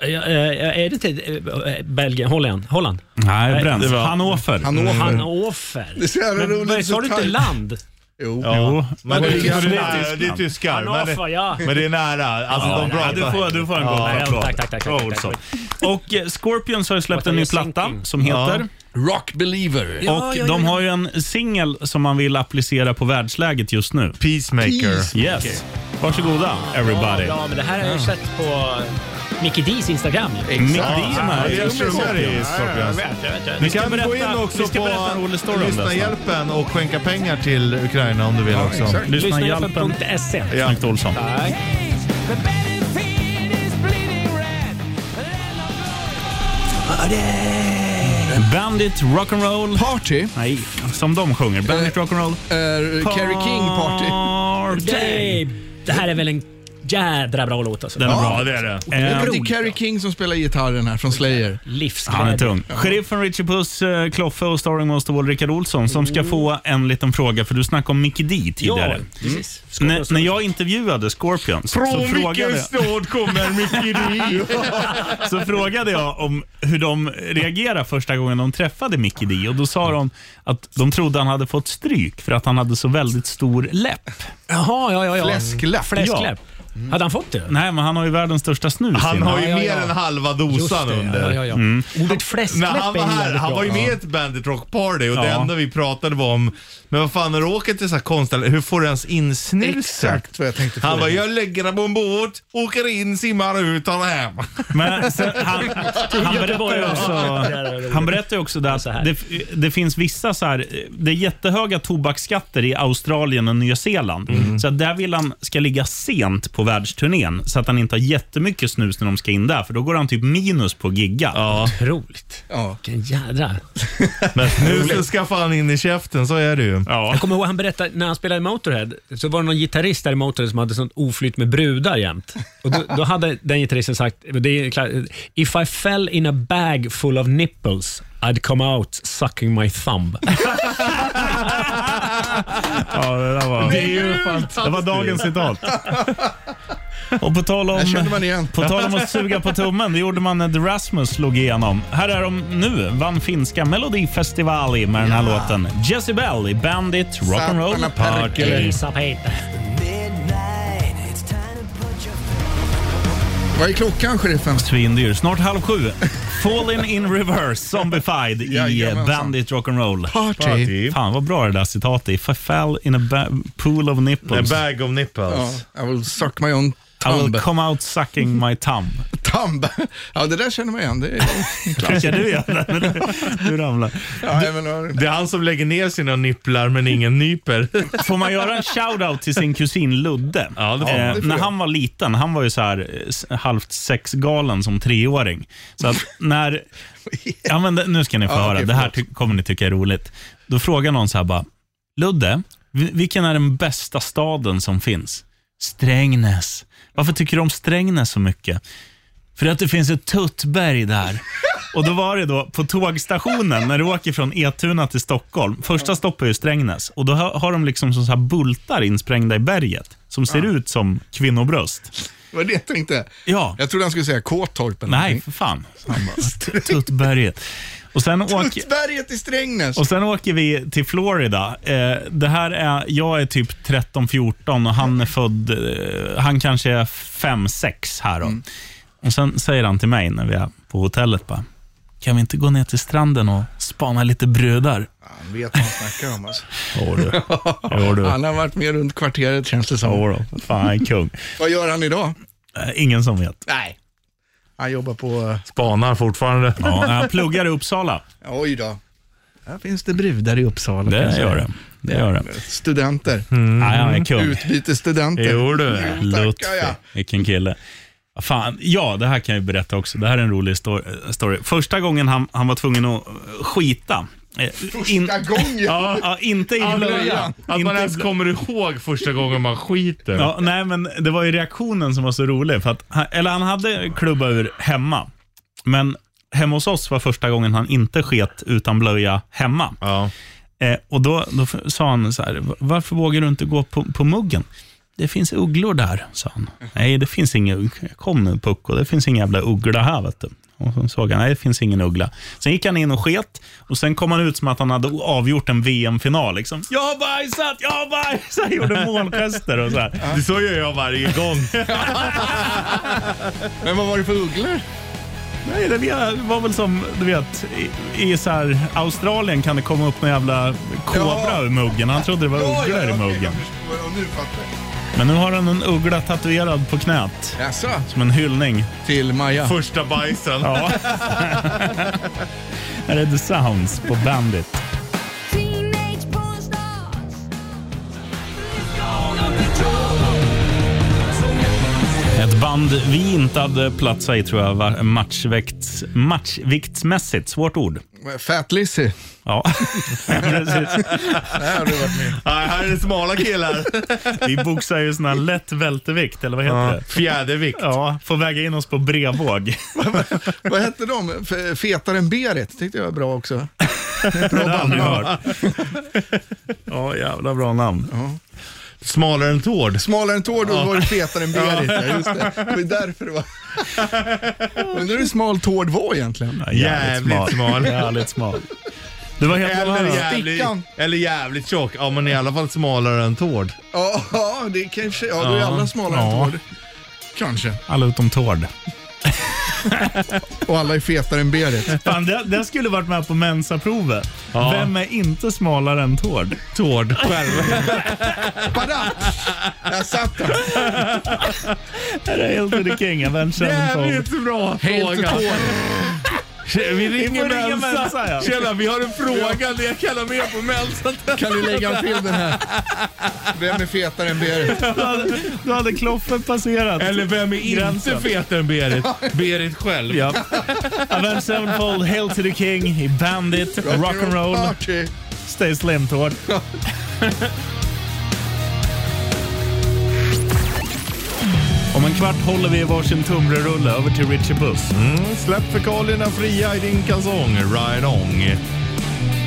[SPEAKER 13] Ja, eh, eh, Är det inte eh, Belgien? Holland? Holland?
[SPEAKER 2] Nej, Bräns.
[SPEAKER 3] det var-
[SPEAKER 2] Hannover.
[SPEAKER 4] Hannover.
[SPEAKER 13] Hannover.
[SPEAKER 4] Det är så jävla roligt,
[SPEAKER 13] men,
[SPEAKER 4] så
[SPEAKER 13] Sa du inte
[SPEAKER 4] tajt.
[SPEAKER 13] land?
[SPEAKER 4] Jo.
[SPEAKER 2] Jo.
[SPEAKER 3] Men det,
[SPEAKER 13] Ja,
[SPEAKER 3] är,
[SPEAKER 13] det
[SPEAKER 3] det,
[SPEAKER 13] är typ-
[SPEAKER 3] är, nära,
[SPEAKER 13] Tyskland.
[SPEAKER 3] det är tyskar. Men
[SPEAKER 13] Hannover, ja.
[SPEAKER 3] det, men det är nära. Alltså,
[SPEAKER 2] Ja,
[SPEAKER 3] de
[SPEAKER 2] nej,
[SPEAKER 3] pratar.
[SPEAKER 2] du, får, du får en god
[SPEAKER 13] Ja,
[SPEAKER 2] applåd.
[SPEAKER 13] tack, tack, tack,
[SPEAKER 2] Bra Oh,
[SPEAKER 13] tack, tack.
[SPEAKER 2] Olsson. Och eh, Scorpions har ju släppt
[SPEAKER 13] What
[SPEAKER 2] en
[SPEAKER 13] are
[SPEAKER 2] ny
[SPEAKER 13] you
[SPEAKER 2] platta
[SPEAKER 13] thinking?
[SPEAKER 2] som heter...
[SPEAKER 4] Rock Believer.
[SPEAKER 13] Ja,
[SPEAKER 2] och
[SPEAKER 13] ja,
[SPEAKER 2] de
[SPEAKER 13] ja.
[SPEAKER 2] har ju en singel som man vill applicera på världsläget just nu.
[SPEAKER 3] Peacemaker.
[SPEAKER 2] Yes. Varsågoda everybody.
[SPEAKER 13] Ja, men det här har jag ju sett på Mickey D's Instagram. ju.
[SPEAKER 2] Mick
[SPEAKER 3] Ja,
[SPEAKER 2] Dean är
[SPEAKER 3] det är trummor i Scorpions.
[SPEAKER 2] Vi
[SPEAKER 3] Vi
[SPEAKER 2] ska
[SPEAKER 3] kan gå in
[SPEAKER 2] berätta,
[SPEAKER 3] också
[SPEAKER 2] vi ska berätta en
[SPEAKER 3] på
[SPEAKER 2] rolig story om det. snart.
[SPEAKER 3] Lyssnarhjälpen och skänka pengar till Ukraina om du vill också.
[SPEAKER 2] Lyssnarhjälpen.
[SPEAKER 13] Lyssnahjälpen.se.
[SPEAKER 3] Ja.
[SPEAKER 2] Snyggt Olsson.
[SPEAKER 13] Tack.
[SPEAKER 2] Bandit Rock'n'Roll.
[SPEAKER 4] Party.
[SPEAKER 2] Nej, som de sjunger.
[SPEAKER 4] Eh,
[SPEAKER 2] Bandit Rock'n'Roll.
[SPEAKER 4] Är Carrie King party.
[SPEAKER 2] Party.
[SPEAKER 13] Det här är väl en Jädra bra låt alltså.
[SPEAKER 2] Den är bra, det är det.
[SPEAKER 4] Det är
[SPEAKER 2] Ehm,
[SPEAKER 4] Brody Carey King som spelar gitarren här från Slayer.
[SPEAKER 13] Livsglädje.
[SPEAKER 2] Han är typ- tung. Sheriffen Richie Puss, eh, Kloffe och Starring Monsterwall Rickard Olsson som ska få en liten fråga, för du snackade om Mickey D tidigare.
[SPEAKER 3] Mm. Ja, precis.
[SPEAKER 2] Mm. När- När jag intervjuade Scorpions så frågade,
[SPEAKER 3] stad kommer Mickey D?
[SPEAKER 2] så frågade jag om hur de reagerade första gången de träffade Mickey D och då sa
[SPEAKER 3] Mm.
[SPEAKER 2] de att de trodde han hade fått stryk för att han hade så väldigt stor läpp.
[SPEAKER 13] Jaha, ja, ja, ja.
[SPEAKER 2] Fläskläpp.
[SPEAKER 13] Fläskläpp. Hade han fått det?
[SPEAKER 2] Nej, men han har ju världens största snus.
[SPEAKER 3] Han
[SPEAKER 2] inne.
[SPEAKER 3] har ju mer än halva dosan
[SPEAKER 2] Just det,
[SPEAKER 3] under.
[SPEAKER 2] ja, ja, ja.
[SPEAKER 3] Mm.
[SPEAKER 13] Ordet
[SPEAKER 3] Men
[SPEAKER 13] fläskläpp
[SPEAKER 3] han var
[SPEAKER 13] är
[SPEAKER 3] här,
[SPEAKER 13] jävligt
[SPEAKER 3] han
[SPEAKER 13] bra.
[SPEAKER 3] var ju med i
[SPEAKER 13] Ja.
[SPEAKER 3] ett Bandit Rock Party och det
[SPEAKER 13] Ja.
[SPEAKER 3] enda vi pratade var om, men vad fan när du åker till så här konstställen, hur får du ens in snuset?
[SPEAKER 4] Exakt vad jag tänkte
[SPEAKER 3] Han
[SPEAKER 4] fråga.
[SPEAKER 3] bara, jag lägger den på en båt, åker in, simmar ut, tar den hem.
[SPEAKER 2] Men sen, han, han berättar ju också, han berättar ju också där att det, det finns vissa så här, det är jättehöga tobaksskatter i Australien och Nya Zeeland. Så att där vill han ska ligga sent på världsturnén så att han inte har jättemycket snus när de ska in där, för då går han typ minus på att gigga.
[SPEAKER 13] Otroligt.
[SPEAKER 4] Ja.
[SPEAKER 13] Vilken jädra...
[SPEAKER 3] Men snusen ska fan in i käften, så är det ju.
[SPEAKER 13] Jag kommer ihåg han berättade när han spelade i Motorhead så var det någon gitarrist där i Motorhead som hade sånt oflyt med brudar jämt. Och då, då hade den gitarristen sagt, det är klart, if I fell in a bag full of nipples I'd come out sucking my thumb.
[SPEAKER 2] Ja, det där var...
[SPEAKER 13] Det är ju
[SPEAKER 2] fantastiskt. Det var dagens citat. Och på tal om,
[SPEAKER 13] Där kände man igen.
[SPEAKER 2] på tal om att suga på tummen, det gjorde man när The Rasmus slog igenom. Här är de nu, vann finska Melodifestivali med den här låten. Jezebel i Bandit Rock'n'Roll
[SPEAKER 13] Satana
[SPEAKER 2] Party.
[SPEAKER 13] perkele.
[SPEAKER 4] Vad är klockan, sheriffen?
[SPEAKER 2] Svindyr. Snart halv sju. Falling in reverse, zombified i
[SPEAKER 4] Jajamensan.
[SPEAKER 2] Bandit Rock'n'Roll.
[SPEAKER 4] Party. Party.
[SPEAKER 2] Fan vad bra det där citatet är. If I fell in a ba- pool of nipples.
[SPEAKER 4] A
[SPEAKER 3] bag of nipples.
[SPEAKER 4] Ja, I will suck my own
[SPEAKER 2] I will
[SPEAKER 4] thumb.
[SPEAKER 2] come out sucking my thumb.
[SPEAKER 4] Thumb? Ja, det där känner man igen. Det är en
[SPEAKER 2] Kanske
[SPEAKER 4] klassiker.
[SPEAKER 2] du gör det. Du ramlar.
[SPEAKER 4] Ja, men, ja.
[SPEAKER 3] Det är han som lägger ner sina nipplar men ingen nyper.
[SPEAKER 2] Får man göra en shoutout till sin kusin Ludde?
[SPEAKER 3] det får man.
[SPEAKER 2] Eh,
[SPEAKER 3] Det får
[SPEAKER 2] när
[SPEAKER 3] jag.
[SPEAKER 2] han var liten, han var ju så här eh, s- halvt sexgalen som treåring. Så att när... Ja, men det, nu ska ni få
[SPEAKER 1] Ja,
[SPEAKER 2] höra.
[SPEAKER 1] okej,
[SPEAKER 2] det här ty- kommer ni tycka är roligt. Då frågar någon så här bara, Ludde, vi- vilken är den bästa staden som finns? Strängnäs. Varför tycker du om Strängnäs så mycket? För att det finns ett tuttberg där. Och då var det då på tågstationen när du åker från Etuna till Stockholm. Första stopp är ju Strängnäs och då har har de liksom som så här bultar insprängda i berget som ser ut som kvinnobröst.
[SPEAKER 4] Var det det jag tänkte?
[SPEAKER 2] Ja.
[SPEAKER 4] Jag trodde han skulle säga Kåtorp eller
[SPEAKER 2] Nej, för fan. Han bara, "Tut- Mm. Tuttberget. Och sen åker...
[SPEAKER 4] Tuttberget i Strängnäs.
[SPEAKER 2] Och sen åker vi till Florida. Eh, det här är, jag är typ 13-14 och han är född, eh, han kanske är 5-6 här då. Och sen säger han till mig när vi är på hotellet bara, kan vi inte gå ner till stranden och spana lite brudar?
[SPEAKER 4] Han vet vad han snackar om alltså.
[SPEAKER 2] Jo du. Jo, du.
[SPEAKER 4] Han har varit med runt kvarteret känns det som.
[SPEAKER 2] Jo, då. Fan, kung.
[SPEAKER 4] Vad gör han idag?
[SPEAKER 2] Eh, Ingen som vet.
[SPEAKER 4] Nej. Han jobbar på... eh,
[SPEAKER 3] Spanar fortfarande.
[SPEAKER 2] Ja, han pluggar i Uppsala.
[SPEAKER 4] Oj då. Här finns det brudar i Uppsala.
[SPEAKER 2] Det
[SPEAKER 4] kanske.
[SPEAKER 2] gör Mm. det. Det gör det.
[SPEAKER 4] Studenter.
[SPEAKER 2] Ja, han är kung.
[SPEAKER 4] Utbytesstudenter.
[SPEAKER 2] Jo du,
[SPEAKER 4] tackar jag.
[SPEAKER 2] Lutfi. Vilken kille. Vad Fan, ja, det här kan jag ju berätta också. Det här är en rolig stor- eh, story. Första gången han, han var tvungen att eh, skita. Eh, In,
[SPEAKER 4] gången?
[SPEAKER 2] Ja, ja, inte i
[SPEAKER 3] Att-
[SPEAKER 2] blöjan.
[SPEAKER 3] Att
[SPEAKER 2] Inte
[SPEAKER 3] man
[SPEAKER 2] i
[SPEAKER 3] ens
[SPEAKER 2] blö-
[SPEAKER 3] kommer ihåg första gången man skiter.
[SPEAKER 2] Ja, nej, men det var ju reaktionen som var så rolig. För att han, eller han hade klubba ur hemma, men hemma hos oss var första gången han inte sket utan blöja hemma. Eh, och då, då f- sa han så här, varför vågar du inte gå på, på muggen? Det finns ugglor där, sa han. Nej, det finns inga ugglor. Kom nu Pucko, det finns ingen jävla uggla här. Vet du. Och så såg han, nej det finns ingen uggla. Sen gick han in och sket och sen kom han ut som att han hade avgjort en VM-final. Liksom. Jag har bajsat, jag har bajsat! Gjorde målgester och så här.
[SPEAKER 3] Det så gör jag varje gång.
[SPEAKER 4] Men vad var det för ugglor?
[SPEAKER 2] Nej, det var- var väl som, du vet, i, i så här, Australien kan det komma upp en jävla kobra ur muggen. Han trodde det var
[SPEAKER 4] Ja,
[SPEAKER 2] ugglor
[SPEAKER 4] ja,
[SPEAKER 2] i
[SPEAKER 4] okej,
[SPEAKER 2] muggen.
[SPEAKER 4] Och nu fattar jag.
[SPEAKER 2] Men nu har han en uggla tatuerad på knät.
[SPEAKER 4] Jaså?
[SPEAKER 2] Som en hyllning.
[SPEAKER 4] Till Maja.
[SPEAKER 3] Första bajsen.
[SPEAKER 2] Ja. Här är The Sounds på Bandit. Ett band vi inte hade platsat i tror jag, var matchvikt, matchviktsmässigt. Svårt ord.
[SPEAKER 4] Fat Lizzy.
[SPEAKER 2] Ja, precis.
[SPEAKER 4] Där har du varit med.
[SPEAKER 3] Nej, här är det smala killar.
[SPEAKER 2] Vi boxar ju sån här lätt vältevikt, eller vad heter
[SPEAKER 3] Ja,
[SPEAKER 2] det?
[SPEAKER 3] fjädervikt.
[SPEAKER 2] Ja, får väga in oss på brevvåg.
[SPEAKER 4] Vad hette de? F- Fetare än Berit tyckte jag var bra också.
[SPEAKER 2] det har jag aldrig hört. Ja, jävla bra namn.
[SPEAKER 3] Smalare än Tord.
[SPEAKER 4] Smalare än Tord och
[SPEAKER 3] Ja.
[SPEAKER 4] då var det fetare än Berit.
[SPEAKER 3] Ja.
[SPEAKER 4] Ja. just det. det var ju därför det var... Undrar hur smal Tord var egentligen?
[SPEAKER 2] Ja, jävligt
[SPEAKER 3] Jävligt smal.
[SPEAKER 2] Jävligt smal. Det var helt
[SPEAKER 3] Eller
[SPEAKER 2] annorlunda.
[SPEAKER 3] jävligt,
[SPEAKER 4] Stickan.
[SPEAKER 3] eller jävligt tjock. Ja, men i alla fall smalare än Tord.
[SPEAKER 4] Ja, ja, det kanske... Ja, då är
[SPEAKER 3] Ja.
[SPEAKER 4] alla smalare
[SPEAKER 2] Ja.
[SPEAKER 4] än Tord. Kanske.
[SPEAKER 2] Alla utom Tord.
[SPEAKER 4] Och alla är fetare än Berit.
[SPEAKER 2] Fan, det, det skulle varit med på Mensa-provet.
[SPEAKER 3] Ja.
[SPEAKER 2] Vem är inte smalare än Tord?
[SPEAKER 3] Tord själv.
[SPEAKER 4] Där satt han.
[SPEAKER 2] Det är helt to the king, Avengers Sevenfold.
[SPEAKER 3] Jävligt bra
[SPEAKER 4] Helt
[SPEAKER 3] fråga.
[SPEAKER 4] Tord.
[SPEAKER 3] Vi
[SPEAKER 2] Vi
[SPEAKER 3] ringer
[SPEAKER 2] får ringa
[SPEAKER 3] Mensa.
[SPEAKER 2] Mensa, ja.
[SPEAKER 3] Tjena, vi har en fråga. Det jag kallar med på Mensa.
[SPEAKER 4] Kan du lägga en film den här? Vem är fetare än Berit?
[SPEAKER 2] Då hade, då hade Kloffe passerat.
[SPEAKER 3] Eller vem är inte
[SPEAKER 2] Gränsen.
[SPEAKER 3] fetare än Berit? Berit själv.
[SPEAKER 2] Ja. Avenged Sevenfold, Hail to the King, i Bandit, Rock'n'Roll,
[SPEAKER 4] Party.
[SPEAKER 2] Stay Slim Tord. Om en kvart håller vi i varsin tumrerulle över till Richie Puss.
[SPEAKER 3] Mm, släpp fekalierna fria i din kalsong. Ride on.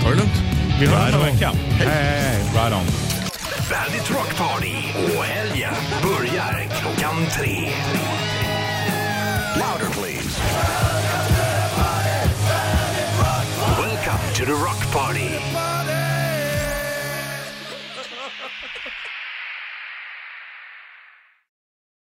[SPEAKER 4] Ta det lugnt.
[SPEAKER 2] Vi hörs om en vecka.
[SPEAKER 3] Hej, hej, hej. Ride on.
[SPEAKER 1] Bandit Rock Party och helgen börjar klockan tre. Louder please. Welcome to the Rock Party.